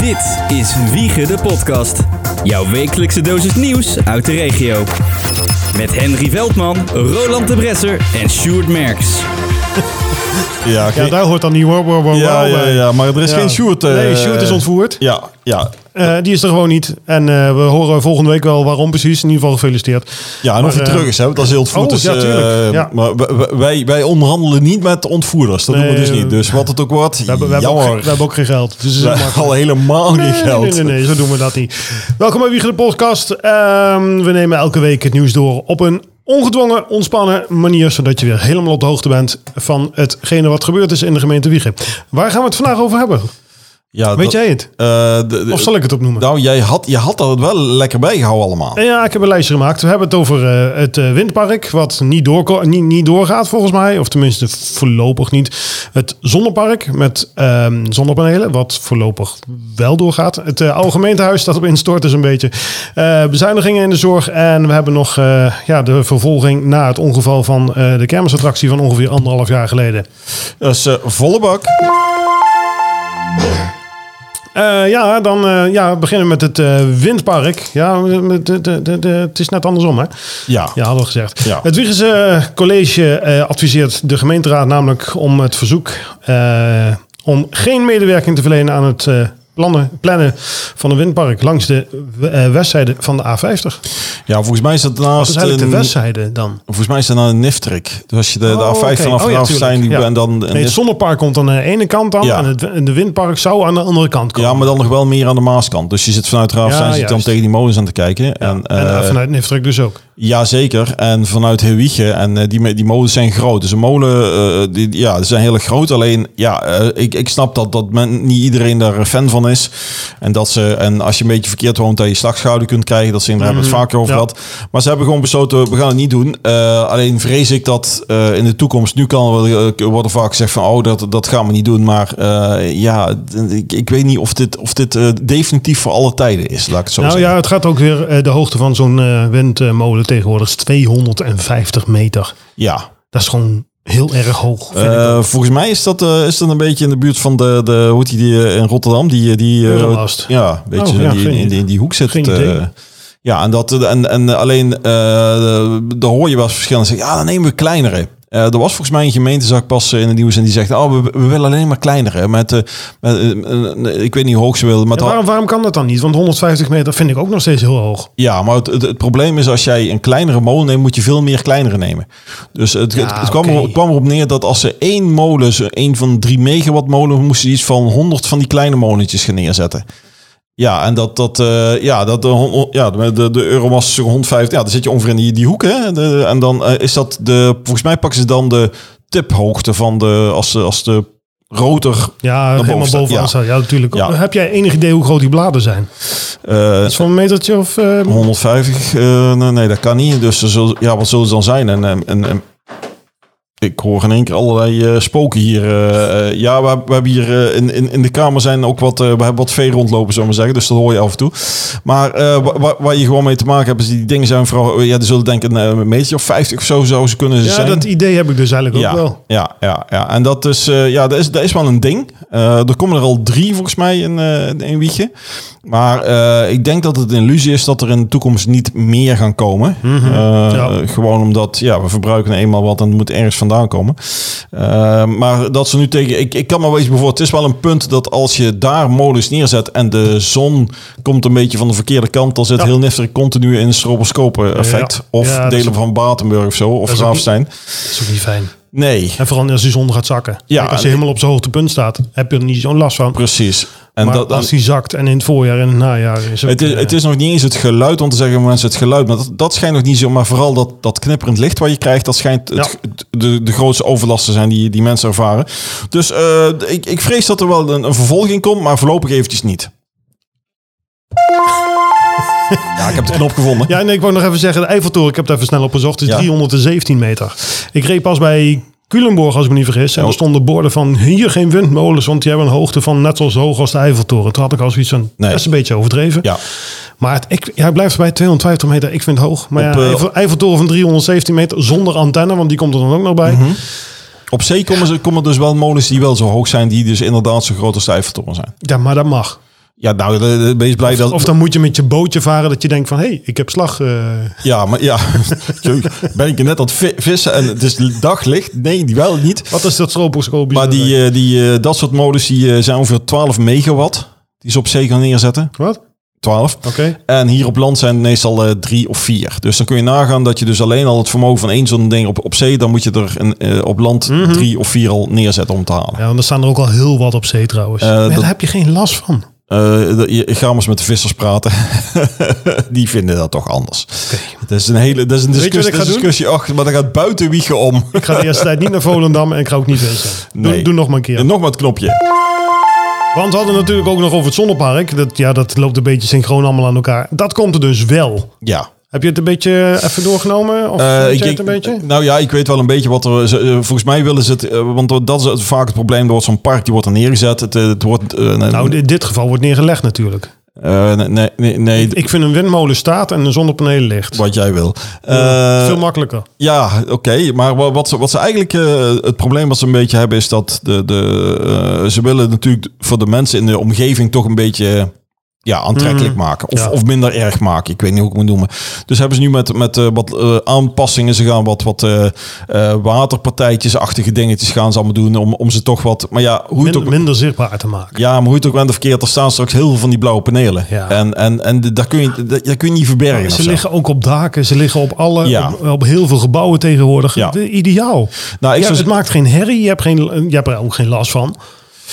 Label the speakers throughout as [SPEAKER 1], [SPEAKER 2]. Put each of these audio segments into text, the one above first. [SPEAKER 1] Dit is Wiegen de Podcast. Jouw wekelijkse dosis nieuws uit de regio. Met Henry Veldman, Roland de Bresser en Sjoerd Merks.
[SPEAKER 2] Ja,
[SPEAKER 3] Ja,
[SPEAKER 2] oké.
[SPEAKER 3] daar hoort dan die wow, wow, wow,
[SPEAKER 2] ja,
[SPEAKER 3] wow
[SPEAKER 2] ja,
[SPEAKER 3] bij.
[SPEAKER 2] ja, maar er is
[SPEAKER 3] Ja.
[SPEAKER 2] geen Sjoerd. eh,
[SPEAKER 3] nee, Sjoerd is ontvoerd.
[SPEAKER 2] Ja, ja.
[SPEAKER 3] Eh, die is er gewoon niet. En eh, we horen volgende week wel waarom precies. In ieder geval gefeliciteerd.
[SPEAKER 2] Ja, en
[SPEAKER 3] Maar,
[SPEAKER 2] of hij
[SPEAKER 3] eh,
[SPEAKER 2] terug is, hè, want dat is heel ontvoerd.
[SPEAKER 3] oh,
[SPEAKER 2] dus,
[SPEAKER 3] ja,
[SPEAKER 2] eh,
[SPEAKER 3] tuurlijk, ja.
[SPEAKER 2] Maar w- w- wij, wij onderhandelen niet met ontvoerders. Dat doen we
[SPEAKER 3] Nee,
[SPEAKER 2] dus niet. Dus wat het ook wordt,
[SPEAKER 3] We hebben, we, hebben ook, geen-
[SPEAKER 2] jammer.
[SPEAKER 3] we hebben ook geen geld. Dus het is
[SPEAKER 2] We-
[SPEAKER 3] makkelijk.
[SPEAKER 2] al helemaal geen
[SPEAKER 3] Nee,
[SPEAKER 2] geld.
[SPEAKER 3] Nee, nee, nee, zo doen we dat niet. Welkom bij Wiegen de Podcast. Ehm, we nemen elke week het nieuws door op een ongedwongen, ontspannen manier, zodat je weer helemaal op de hoogte bent van hetgene wat gebeurd is in de gemeente Wiegen. Waar gaan we het vandaag over hebben?
[SPEAKER 2] Ja,
[SPEAKER 3] Weet
[SPEAKER 2] dat-
[SPEAKER 3] jij het?
[SPEAKER 2] eh, de- de-
[SPEAKER 3] Of zal ik het opnoemen?
[SPEAKER 2] Nou, jij had, je had dat wel lekker bijgehouden allemaal.
[SPEAKER 3] En ja, ik heb een lijstje gemaakt. We hebben het over eh, het eh, windpark, wat niet, doorko- niet, niet doorgaat volgens mij. Of tenminste voorlopig niet. Het zonnepark met ehm, zonnepanelen, wat voorlopig wel doorgaat. Het eh, oude gemeentehuis dat op instort is een beetje. Eh, bezuinigingen in de zorg. En we hebben nog eh, ja, de vervolging na het ongeval van eh, de kermisattractie van ongeveer anderhalf jaar geleden.
[SPEAKER 2] Dus eh, volle bak.
[SPEAKER 3] Eh, ja, dan eh, ja, beginnen we met het eh, windpark. Ja, met de, de, de, de- het is net andersom hè.
[SPEAKER 2] Ja.
[SPEAKER 3] Ja, hadden we gezegd.
[SPEAKER 2] Ja.
[SPEAKER 3] Het Wiegense College eh, adviseert de gemeenteraad namelijk om het verzoek eh, om geen medewerking te verlenen aan het eh, plannen, plannen van een windpark langs de eh, westzijde van de A50.
[SPEAKER 2] ja, volgens mij is dat naast...
[SPEAKER 3] Dat is eigenlijk
[SPEAKER 2] een-
[SPEAKER 3] de westzijde dan.
[SPEAKER 2] Volgens mij is dat nou een niftrik. Dus als je de, de
[SPEAKER 3] Oh,
[SPEAKER 2] A5
[SPEAKER 3] oké.
[SPEAKER 2] vanaf
[SPEAKER 3] Oh, ja,
[SPEAKER 2] de afstijn die
[SPEAKER 3] tuurlijk. Ja.
[SPEAKER 2] en dan... en
[SPEAKER 3] Nee, het
[SPEAKER 2] is-
[SPEAKER 3] zonnepark komt aan de ene kant aan
[SPEAKER 2] Ja.
[SPEAKER 3] en, het, en de windpark zou aan de andere kant komen.
[SPEAKER 2] ja, maar dan nog wel meer aan de Maaskant. Dus je zit vanuit de afstijn zit je dan
[SPEAKER 3] juist.
[SPEAKER 2] tegen die molens aan te kijken. En,
[SPEAKER 3] en
[SPEAKER 2] eh,
[SPEAKER 3] eh, vanuit Niftruk dus ook.
[SPEAKER 2] Jazeker, en vanuit Hewiegen. En eh, die, me- die molens zijn groot. Dus een molen, eh, die, die- ja, die zijn heel erg groot. Alleen, ja, eh, ik, ik snap dat, dat men, niet iedereen daar een fan van is. En, dat ze, en als je een beetje verkeerd woont, dat je slagschouder kunt krijgen. Dat ze daar hebben we het vaker over
[SPEAKER 3] Mhm. ja.
[SPEAKER 2] gehad. Maar ze hebben gewoon besloten, we gaan het niet doen. Eh, alleen vrees ik dat eh, in de toekomst, nu kan wel, eh, worden vaak gezegd van, oh, dat, dat gaan we niet doen. Maar eh, ja, d- ik, ik weet niet of dit, of dit eh, definitief voor alle tijden is, laat ik het zo
[SPEAKER 3] Nou
[SPEAKER 2] zeggen.
[SPEAKER 3] ja, het gaat ook weer eh, de hoogte van zo'n eh, windmolen tegenwoordig is 250 meter.
[SPEAKER 2] ja.
[SPEAKER 3] Dat is gewoon heel erg hoog. vind ik
[SPEAKER 2] Eh,
[SPEAKER 3] ook.
[SPEAKER 2] volgens mij is dat, eh, is dat een beetje in de buurt van de, de hoe heet die, die eh, in Rotterdam? Die, eh, die, eh,
[SPEAKER 3] Eurolast.
[SPEAKER 2] Ja, weet
[SPEAKER 3] Oh,
[SPEAKER 2] je,
[SPEAKER 3] ja,
[SPEAKER 2] die,
[SPEAKER 3] geen
[SPEAKER 2] in, in,
[SPEAKER 3] idee.
[SPEAKER 2] in die hoek zit.
[SPEAKER 3] Geen
[SPEAKER 2] eh,
[SPEAKER 3] idee.
[SPEAKER 2] ja, en, dat, eh, en, en alleen, eh daar hoor je wel eens verschillende zeggen, ja, dan nemen we kleinere. Eh, er was volgens mij een gemeentezak pas eh, in het nieuws en die zegt, oh, we, we willen alleen maar kleinere. Met, eh, met, eh, eh, ik weet niet hoe hoog ze willen. Met
[SPEAKER 3] Ja, waarom, waarom kan dat dan niet? Want 150 meter vind ik ook nog steeds heel hoog.
[SPEAKER 2] Ja, maar het, het, het probleem is als jij een kleinere molen neemt, moet je veel meer kleinere nemen. Dus het,
[SPEAKER 3] Ja,
[SPEAKER 2] het, het kwam,
[SPEAKER 3] oké.
[SPEAKER 2] er, het kwam erop neer dat als ze één molen, ze één van de drie megawatt molen, moesten ze iets van 100 van die kleine molentjes gaan neerzetten. Ja, en dat, dat, eh, ja, dat de, hon- hon- ja, de, de, de Euromast 150, ja, dan zit je ongeveer in die, die hoek. Hè? De- en dan eh, is dat de, volgens mij pakken ze dan de tiphoogte van de, als, de- als de rotor.
[SPEAKER 3] Ja,
[SPEAKER 2] boven
[SPEAKER 3] helemaal
[SPEAKER 2] staat,
[SPEAKER 3] bovenaan
[SPEAKER 2] ja.
[SPEAKER 3] staat. Ja, natuurlijk.
[SPEAKER 2] Ja.
[SPEAKER 3] Heb jij enig idee hoe groot die bladen zijn?
[SPEAKER 2] eh,
[SPEAKER 3] Dat is van een metertje of... eh,
[SPEAKER 2] 150, eh, nee, nee, dat kan niet. Dus er zullen- ja, wat zullen ze dan zijn? En, en, en, en- ik hoor in één keer allerlei eh, spoken hier. eh, eh, ja, we, we hebben hier eh, in, in, in de kamer zijn ook wat, eh, we hebben wat vee rondlopen, zullen we maar zeggen. Dus dat hoor je af en toe. Maar eh, wa- wa- waar je gewoon mee te maken hebt, is die dingen zijn vooral, ja, die zullen denk ik een eh, meter of 50 of zo zou ze kunnen
[SPEAKER 3] ja,
[SPEAKER 2] zijn.
[SPEAKER 3] dat idee heb ik dus eigenlijk
[SPEAKER 2] ja,
[SPEAKER 3] ook wel.
[SPEAKER 2] ja, ja, ja. En dat is, eh, ja, dat is, dat is wel een ding. Eh, er komen er al drie volgens mij in, eh in Wiegen. Maar eh, ik denk dat het een illusie is dat er in de toekomst niet meer gaan komen. Eh,
[SPEAKER 3] Mhm. Ja.
[SPEAKER 2] Gewoon omdat ja, we verbruiken nou eenmaal wat en het moet ergens vandaan komen. Eh, maar dat ze nu tegen. Ik, ik kan me wel eens bijvoorbeeld. Het is wel een punt dat als je daar molens neerzet en de zon komt een beetje van de verkeerde kant, dan zit
[SPEAKER 3] Ja.
[SPEAKER 2] heel Nifter continu in een stroboscopen effect.
[SPEAKER 3] Ja.
[SPEAKER 2] Of
[SPEAKER 3] Ja, dat is-
[SPEAKER 2] delen van Batenburg of zo. Of
[SPEAKER 3] is ook niet-
[SPEAKER 2] Graafstein.
[SPEAKER 3] Dat is ook niet fijn.
[SPEAKER 2] Nee.
[SPEAKER 3] En vooral als die zon gaat zakken.
[SPEAKER 2] Ja,
[SPEAKER 3] Kijk, als je
[SPEAKER 2] en-
[SPEAKER 3] helemaal op zijn hoogtepunt staat, heb je er niet zo'n last van.
[SPEAKER 2] Precies. En
[SPEAKER 3] maar
[SPEAKER 2] dat,
[SPEAKER 3] als die zakt en in het voorjaar en het najaar is ook,
[SPEAKER 2] het, is,
[SPEAKER 3] eh,
[SPEAKER 2] het is nog niet eens het geluid, want dan zeggen mensen het geluid. Maar dat, dat schijnt nog niet zo. Maar vooral dat, dat knipperend licht wat je krijgt, dat schijnt het, de, de grootste overlast te zijn die, die mensen ervaren. Dus eh, ik, ik vrees dat er wel een, een vervolging komt, maar voorlopig eventjes niet. Ja, ik heb de knop gevonden.
[SPEAKER 3] Ja, en ik wou nog even zeggen, de Eiffeltoren, ik heb het even snel opgezocht, is
[SPEAKER 2] Ja.
[SPEAKER 3] 317 meter. Ik reed pas bij Culemborg, als ik me niet vergis. En
[SPEAKER 2] Oh.
[SPEAKER 3] er stonden borden van hier geen windmolens, want die hebben een hoogte van net zoals hoog als de Eiffeltoren. Toen had ik al zoiets van,
[SPEAKER 2] Nee.
[SPEAKER 3] dat is een beetje overdreven.
[SPEAKER 2] Ja,
[SPEAKER 3] Maar het, ik, ja, hij blijft bij 250 meter, ik vind het hoog. Maar
[SPEAKER 2] Op,
[SPEAKER 3] ja,
[SPEAKER 2] eh,
[SPEAKER 3] Eiffel- Eiffeltoren van 317 meter zonder antenne, want die komt er dan ook nog bij.
[SPEAKER 2] Mhm. op zee komen, ze, komen dus wel molens die wel zo hoog zijn, die dus inderdaad zo groot als de Eiffeltoren zijn.
[SPEAKER 3] Ja, maar dat mag.
[SPEAKER 2] Ja, nou, eh, eh, wees blij dat...
[SPEAKER 3] Of dan moet je met je bootje varen dat je denkt van... hé, hey, ik heb slag. eh.
[SPEAKER 2] Ja, maar ja, jeugd, ben ik net aan het vi- vissen en het is daglicht? Nee, die wel niet.
[SPEAKER 3] wat is dat stroposcoopje?
[SPEAKER 2] Maar die, eh, die, eh, dat soort modus die, eh, zijn ongeveer 12 megawatt die ze op zee gaan neerzetten.
[SPEAKER 3] Wat? Oké.
[SPEAKER 2] 12. En hier op land zijn het meestal eh, drie of vier. Dus dan kun je nagaan dat je dus alleen al het vermogen van één zo'n ding op, op zee, dan moet je er een, eh, op land drie of vier al neerzetten om te halen.
[SPEAKER 3] Mhm. Ja, want er staan er ook al heel wat op zee trouwens.
[SPEAKER 2] Eh,
[SPEAKER 3] Maar ja,
[SPEAKER 2] dat-
[SPEAKER 3] Daar heb je geen last van.
[SPEAKER 2] Eh, de- je- ga maar eens met de vissers praten. die vinden dat toch anders. Dat is een hele dat is een
[SPEAKER 3] je wat
[SPEAKER 2] discussie,
[SPEAKER 3] ik ga
[SPEAKER 2] dat is een
[SPEAKER 3] doen?
[SPEAKER 2] discussie achter, maar daar gaat buiten wiegen om.
[SPEAKER 3] Ik ga de eerste tijd niet naar Volendam en ik ga ook niet vissen. Doe,
[SPEAKER 2] Nee.
[SPEAKER 3] doe nog maar een keer.
[SPEAKER 2] En nog maar het knopje.
[SPEAKER 3] Want we hadden natuurlijk ook nog over het zonnepark. Dat, ja, dat loopt een beetje synchroon allemaal aan elkaar. Dat komt er dus wel.
[SPEAKER 2] Ja.
[SPEAKER 3] Heb je het een beetje eh, even doorgenomen? Of
[SPEAKER 2] Eh,
[SPEAKER 3] weet
[SPEAKER 2] ik-
[SPEAKER 3] je
[SPEAKER 2] ik-
[SPEAKER 3] het een beetje?
[SPEAKER 2] Nou ja, ik weet wel een beetje wat er. ze- eh, volgens mij willen ze het. eh, want dat is het- vaak het probleem. Er wordt zo'n park die wordt er neergezet. Het, eh, het wordt. eh, een-
[SPEAKER 3] Nou, in dit geval wordt neergelegd natuurlijk.
[SPEAKER 2] eh, nee, nee, nee,
[SPEAKER 3] Ik vind een windmolen staat en een zonnepanelen ligt.
[SPEAKER 2] wat jij wil. Eh,
[SPEAKER 3] Veel makkelijker.
[SPEAKER 2] ja, oké. maar wa- wat, ze, wat ze eigenlijk. eh, het probleem wat ze een beetje hebben is dat. De, de, eh, ze willen natuurlijk voor de mensen in de omgeving toch een beetje. eh, Ja, aantrekkelijk maken. Of,
[SPEAKER 3] Mm-hmm. ja.
[SPEAKER 2] of minder erg maken. Ik weet niet hoe ik het moet noemen. Dus hebben ze nu met, met eh, wat eh, aanpassingen. Ze gaan wat, wat eh eh, waterpartijtjes-achtige dingetjes gaan ze allemaal doen. Om, om ze toch wat... Maar ja, hoe het
[SPEAKER 3] Min-
[SPEAKER 2] ook...
[SPEAKER 3] minder zichtbaar te maken.
[SPEAKER 2] Ja, maar hoe je het ook bent of verkeerd, er staan straks heel veel van die blauwe panelen.
[SPEAKER 3] Ja.
[SPEAKER 2] En, en, en de- daar kun je, dat- daar kun je niet verbergen. of
[SPEAKER 3] Ze
[SPEAKER 2] zo.
[SPEAKER 3] liggen ook op daken, ze liggen op alle,
[SPEAKER 2] Ja.
[SPEAKER 3] op, op heel veel gebouwen tegenwoordig.
[SPEAKER 2] Ja.
[SPEAKER 3] De- Ideaal.
[SPEAKER 2] Nou, ik
[SPEAKER 3] Ja,
[SPEAKER 2] zou-
[SPEAKER 3] het maakt geen herrie, je hebt, geen, je hebt er ook geen last van.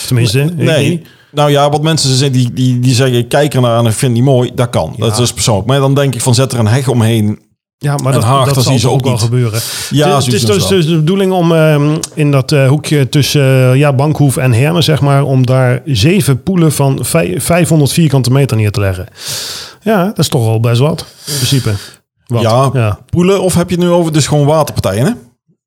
[SPEAKER 3] Tenminste, nee.
[SPEAKER 2] Nee. Nou ja, wat mensen zeggen, die, die, die zeggen, kijk ernaar en ik vind het niet mooi. Dat kan. Dat is dus persoonlijk. Maar dan denk ik van, zet er een heg omheen.
[SPEAKER 3] Ja, maar
[SPEAKER 2] En
[SPEAKER 3] dat,
[SPEAKER 2] Haag,
[SPEAKER 3] dat,
[SPEAKER 2] dat
[SPEAKER 3] zal
[SPEAKER 2] zien ze
[SPEAKER 3] toch
[SPEAKER 2] ook
[SPEAKER 3] ook wel
[SPEAKER 2] niet.
[SPEAKER 3] gebeuren.
[SPEAKER 2] Ja, zo
[SPEAKER 3] Het- het
[SPEAKER 2] zien
[SPEAKER 3] is
[SPEAKER 2] ze
[SPEAKER 3] dus,
[SPEAKER 2] wel.
[SPEAKER 3] dus de bedoeling om ehm, in dat eh, hoekje tussen eh, ja, Bankhoef en Herne, zeg maar, om daar zeven poelen van vij- 500 vierkante meter neer te leggen. Ja, dat is toch al best wat, in principe. Wat?
[SPEAKER 2] Ja,
[SPEAKER 3] ja.
[SPEAKER 2] poelen. Of heb je het nu over, dus gewoon waterpartijen, hè?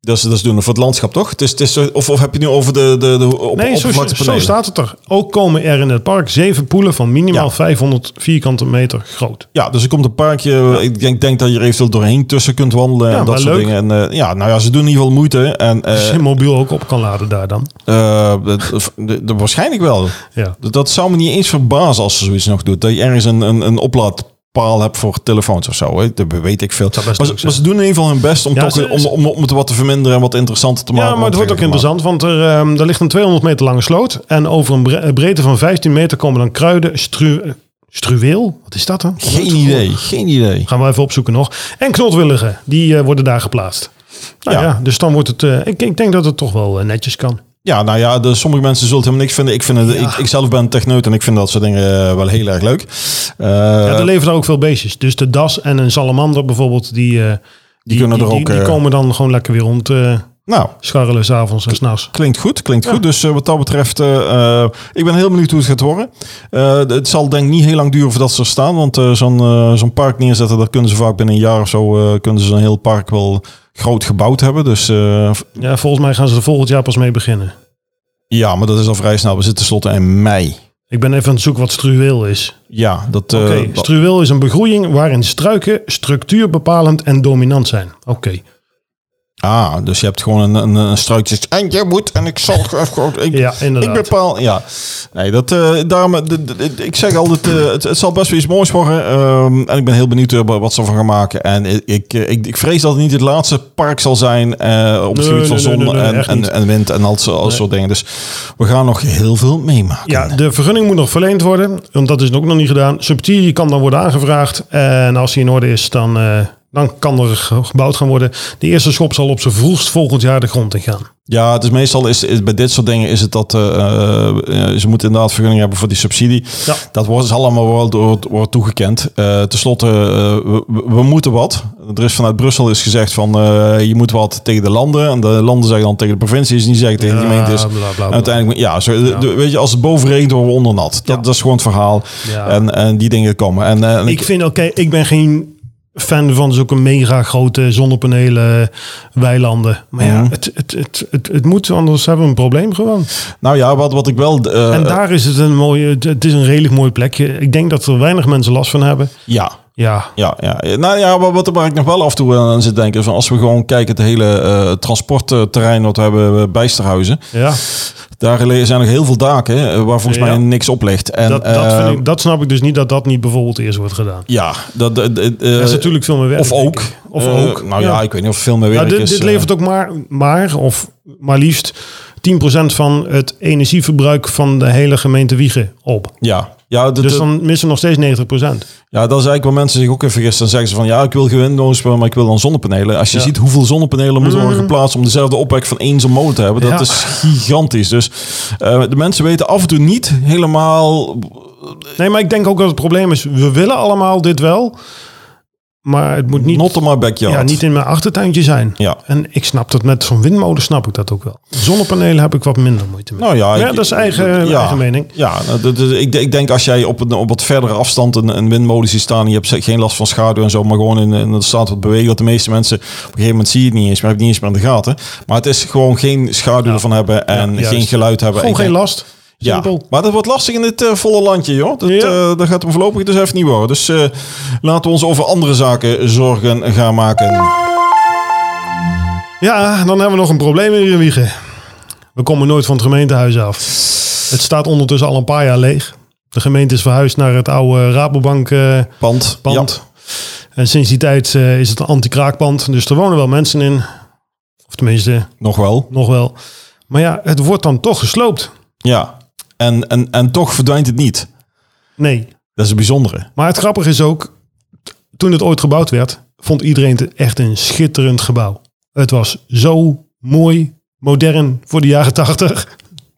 [SPEAKER 2] Dat is, dat is doen voor het landschap, toch? Het is, het is, of, of heb je het nu over de, de, de op,
[SPEAKER 3] Nee, zo, zo
[SPEAKER 2] oppervlaktepanelen?
[SPEAKER 3] staat het er. Ook komen er in het park zeven poelen van minimaal
[SPEAKER 2] Ja.
[SPEAKER 3] 500 vierkante meter groot.
[SPEAKER 2] Ja, dus er komt een parkje. Ik denk, denk dat je er eventueel doorheen tussen kunt wandelen.
[SPEAKER 3] Ja,
[SPEAKER 2] en dat
[SPEAKER 3] maar
[SPEAKER 2] soort
[SPEAKER 3] leuk.
[SPEAKER 2] dingen. En, eh, ja, nou ja, ze doen in ieder geval moeite. En
[SPEAKER 3] Als
[SPEAKER 2] eh,
[SPEAKER 3] je je mobiel ook op kan laden daar dan.
[SPEAKER 2] eh, dat- de- de- waarschijnlijk wel.
[SPEAKER 3] Ja.
[SPEAKER 2] Dat- Dat zou me niet eens verbazen als ze zoiets nog doet. Dat je ergens een, een, een oplaadpaal hebt voor telefoons of zo. Hè? Dat weet ik veel.
[SPEAKER 3] zou
[SPEAKER 2] Maar,
[SPEAKER 3] best
[SPEAKER 2] ze-
[SPEAKER 3] leuk zijn.
[SPEAKER 2] maar ze doen in ieder geval hun best om,
[SPEAKER 3] Ja,
[SPEAKER 2] toch,
[SPEAKER 3] ze-
[SPEAKER 2] om,
[SPEAKER 3] ze-
[SPEAKER 2] om, om het wat te verminderen en wat interessanter te maken.
[SPEAKER 3] Ja, maar het wordt ook
[SPEAKER 2] aantrekkelijker te
[SPEAKER 3] interessant, want er, ehm, er ligt een 200 meter lange sloot. En over een bre- breedte van 15 meter komen dan kruiden, stru struweel. Wat is dat dan?
[SPEAKER 2] maken. Geen idee, geen idee.
[SPEAKER 3] Gaan we even opzoeken nog. En knotwilligen, die eh, worden daar geplaatst. Nou
[SPEAKER 2] Ja.
[SPEAKER 3] ja, dus dan wordt het... eh, ik, ik denk dat het toch wel eh, netjes kan.
[SPEAKER 2] Ja, nou ja, de, sommige mensen zullen het helemaal niks vinden. Ik, vind het, ik, ik zelf ben techneut en ik vind dat soort dingen eh, wel heel erg leuk. Eh,
[SPEAKER 3] Ja, er leven daar ook veel beestjes. Dus de das en een salamander bijvoorbeeld, die, eh, die,
[SPEAKER 2] kunnen
[SPEAKER 3] die,
[SPEAKER 2] er
[SPEAKER 3] die,
[SPEAKER 2] ook,
[SPEAKER 3] die
[SPEAKER 2] eh,
[SPEAKER 3] komen dan gewoon lekker weer rond eh
[SPEAKER 2] Nou,
[SPEAKER 3] scharrelen s'avonds en s'nachts.
[SPEAKER 2] Klinkt goed, klinkt goed. Dus eh, wat dat betreft, eh, eh, ik ben heel benieuwd hoe het gaat worden. Eh, het zal denk ik niet heel lang duren voordat ze er staan. Want eh, zo'n eh, zo'n park neerzetten, dat kunnen ze vaak binnen een jaar of zo... eh, kunnen ze een heel park wel groot gebouwd hebben. Dus eh, v-
[SPEAKER 3] Ja, volgens mij gaan ze er volgend jaar pas mee beginnen.
[SPEAKER 2] ja, maar dat is al vrij snel. We zitten tenslotte in mei.
[SPEAKER 3] Ik ben even aan het zoeken wat struweel is.
[SPEAKER 2] Ja, dat... eh,
[SPEAKER 3] Oké,
[SPEAKER 2] dat-
[SPEAKER 3] struweel is een begroeiing waarin struiken structuurbepalend en dominant zijn. Oké.
[SPEAKER 2] ah, dus je hebt gewoon een, een, een struikje. En je moet, en ik zal... Ik,
[SPEAKER 3] Ja,
[SPEAKER 2] Ik
[SPEAKER 3] inderdaad.
[SPEAKER 2] bepaal, ja. Nee, dat, eh daarom, de- de- de- ik zeg altijd, eh, het, het zal best wel iets moois worden. ehm, en ik ben heel benieuwd eh, wat ze ervan gaan maken. En ik, ik, eh, ik, ik vrees dat het niet het laatste park zal zijn eh, op het
[SPEAKER 3] Nee,
[SPEAKER 2] gebied van
[SPEAKER 3] nee,
[SPEAKER 2] zon
[SPEAKER 3] nee, nee, nee,
[SPEAKER 2] en,
[SPEAKER 3] echt
[SPEAKER 2] en,
[SPEAKER 3] niet.
[SPEAKER 2] en wind en al zo- al soort dingen. Dus we gaan nog heel veel meemaken.
[SPEAKER 3] Ja, de vergunning moet nog verleend worden, want dat is ook nog niet gedaan. Subsidie kan dan worden aangevraagd en als die in orde is, dan, eh, dan kan er ge- gebouwd gaan worden. De eerste schop zal op zijn vroegst volgend jaar de grond in gaan.
[SPEAKER 2] Ja, het is meestal is, is bij dit soort dingen is het dat eh, eh, ze moeten inderdaad vergunning hebben voor die subsidie.
[SPEAKER 3] Ja.
[SPEAKER 2] Dat wordt dus allemaal wel door, wordt toegekend. Eh Ten slotte, eh, we, we- we moeten wat. Er is vanuit Brussel is gezegd van eh, je moet wat tegen de landen. En de landen zeggen dan tegen de provincies, niet zeggen tegen de
[SPEAKER 3] Ja,
[SPEAKER 2] gemeentes.
[SPEAKER 3] bla, bla, bla.
[SPEAKER 2] En uiteindelijk, ja, zo, de- de- weet je, als het boven regent worden we onder nat. Dat, dat is gewoon het verhaal.
[SPEAKER 3] Ja.
[SPEAKER 2] En, en die dingen komen. En, eh, en
[SPEAKER 3] Ik vind, oké, ik ben geen fan van zulke mega grote zonnepanelen, weilanden. Maar ja,
[SPEAKER 2] Mhm.
[SPEAKER 3] het, het, het, het, het moet, anders hebben we een probleem gewoon.
[SPEAKER 2] nou ja, wat, wat ik wel. eh,
[SPEAKER 3] En daar is het een mooie, het- het is een redelijk mooi plekje. Ik denk dat er weinig mensen last van hebben.
[SPEAKER 2] ja.
[SPEAKER 3] Ja.
[SPEAKER 2] Ja, ja. Nou ja, maar wat waar ik nog wel af en toe aan zit denken, is van als we gewoon kijken het hele eh, transportterrein wat we hebben eh, bij Bijsterhuizen,
[SPEAKER 3] ja.
[SPEAKER 2] daar zijn nog heel veel daken eh, waar volgens
[SPEAKER 3] Ja.
[SPEAKER 2] mij niks op ligt. En,
[SPEAKER 3] dat, dat,
[SPEAKER 2] eh,
[SPEAKER 3] vind ik, dat snap ik dus niet dat dat niet bijvoorbeeld eerst wordt gedaan.
[SPEAKER 2] Ja, dat, dat, dat, eh,
[SPEAKER 3] Er is natuurlijk veel meer werk.
[SPEAKER 2] of
[SPEAKER 3] denk
[SPEAKER 2] ook.
[SPEAKER 3] ik. Of
[SPEAKER 2] Eh,
[SPEAKER 3] ook.
[SPEAKER 2] Nou ja. ik weet niet of veel meer werk
[SPEAKER 3] Nou, dit,
[SPEAKER 2] is.
[SPEAKER 3] dit
[SPEAKER 2] eh,
[SPEAKER 3] levert ook maar, maar, of maar liefst 10% van het energieverbruik van de hele gemeente Wiegen op.
[SPEAKER 2] ja. Ja, dat-
[SPEAKER 3] Dus
[SPEAKER 2] dat-
[SPEAKER 3] dan missen we nog steeds 90%.
[SPEAKER 2] ja, dat is eigenlijk waar mensen zich ook even vergissen. Dan zeggen ze van ja, ik wil geen windmolens, maar ik wil dan zonnepanelen. Als je ziet hoeveel zonnepanelen moeten worden geplaatst om dezelfde opwek van één zo'n molen te hebben, dat
[SPEAKER 3] Mhm.
[SPEAKER 2] is
[SPEAKER 3] Ja.
[SPEAKER 2] gigantisch. Dus eh, de mensen weten af en toe niet helemaal
[SPEAKER 3] Nee, maar ik denk ook dat het probleem is, we willen allemaal dit wel, maar het moet niet,
[SPEAKER 2] not in my backyard.
[SPEAKER 3] ja, niet in mijn achtertuintje zijn.
[SPEAKER 2] Ja.
[SPEAKER 3] En ik snap dat met zo'n windmolen snap ik dat ook wel. Zonnepanelen heb ik wat minder moeite mee.
[SPEAKER 2] Nou ja,
[SPEAKER 3] Ja,
[SPEAKER 2] ik-
[SPEAKER 3] dat is eigen,
[SPEAKER 2] ja.
[SPEAKER 3] eigen mening.
[SPEAKER 2] Ja, nou, dat- dat- ik, ik denk als jij op een op wat verdere afstand een, een windmolen ziet staan, en je hebt geen last van schaduw en zo, maar gewoon in, in de staat wat bewegen, dat de meeste mensen op een gegeven moment zie je het niet eens, maar hebben het niet eens meer in de gaten. Maar het is gewoon geen schaduw ervan hebben en
[SPEAKER 3] juist.
[SPEAKER 2] geen geluid hebben.
[SPEAKER 3] Gewoon
[SPEAKER 2] En
[SPEAKER 3] geen last.
[SPEAKER 2] ja,
[SPEAKER 3] Simpel.
[SPEAKER 2] maar dat wordt lastig in dit eh, volle landje, joh. Dat,
[SPEAKER 3] Ja.
[SPEAKER 2] eh, dat gaat hem voorlopig dus even niet worden. Dus eh, laten we ons over andere zaken zorgen gaan maken.
[SPEAKER 3] Ja, dan hebben we nog een probleem hier in Wiegen. We komen nooit van het gemeentehuis af. Het staat ondertussen al een paar jaar leeg. De gemeente is verhuisd naar het oude Rabobank eh,
[SPEAKER 2] Pand.
[SPEAKER 3] pand. En sinds die tijd eh, is het een anti-kraakpand. Dus er wonen wel mensen in. Of tenminste,
[SPEAKER 2] Ja, nog wel.
[SPEAKER 3] nog wel. Maar ja, het wordt dan toch gesloopt.
[SPEAKER 2] Ja. En, en, en toch verdwijnt het niet.
[SPEAKER 3] Nee.
[SPEAKER 2] Dat is het bijzondere.
[SPEAKER 3] Maar het grappige is ook, toen het ooit gebouwd werd, vond iedereen het echt een schitterend gebouw. Het was zo mooi, modern voor de jaren tachtig.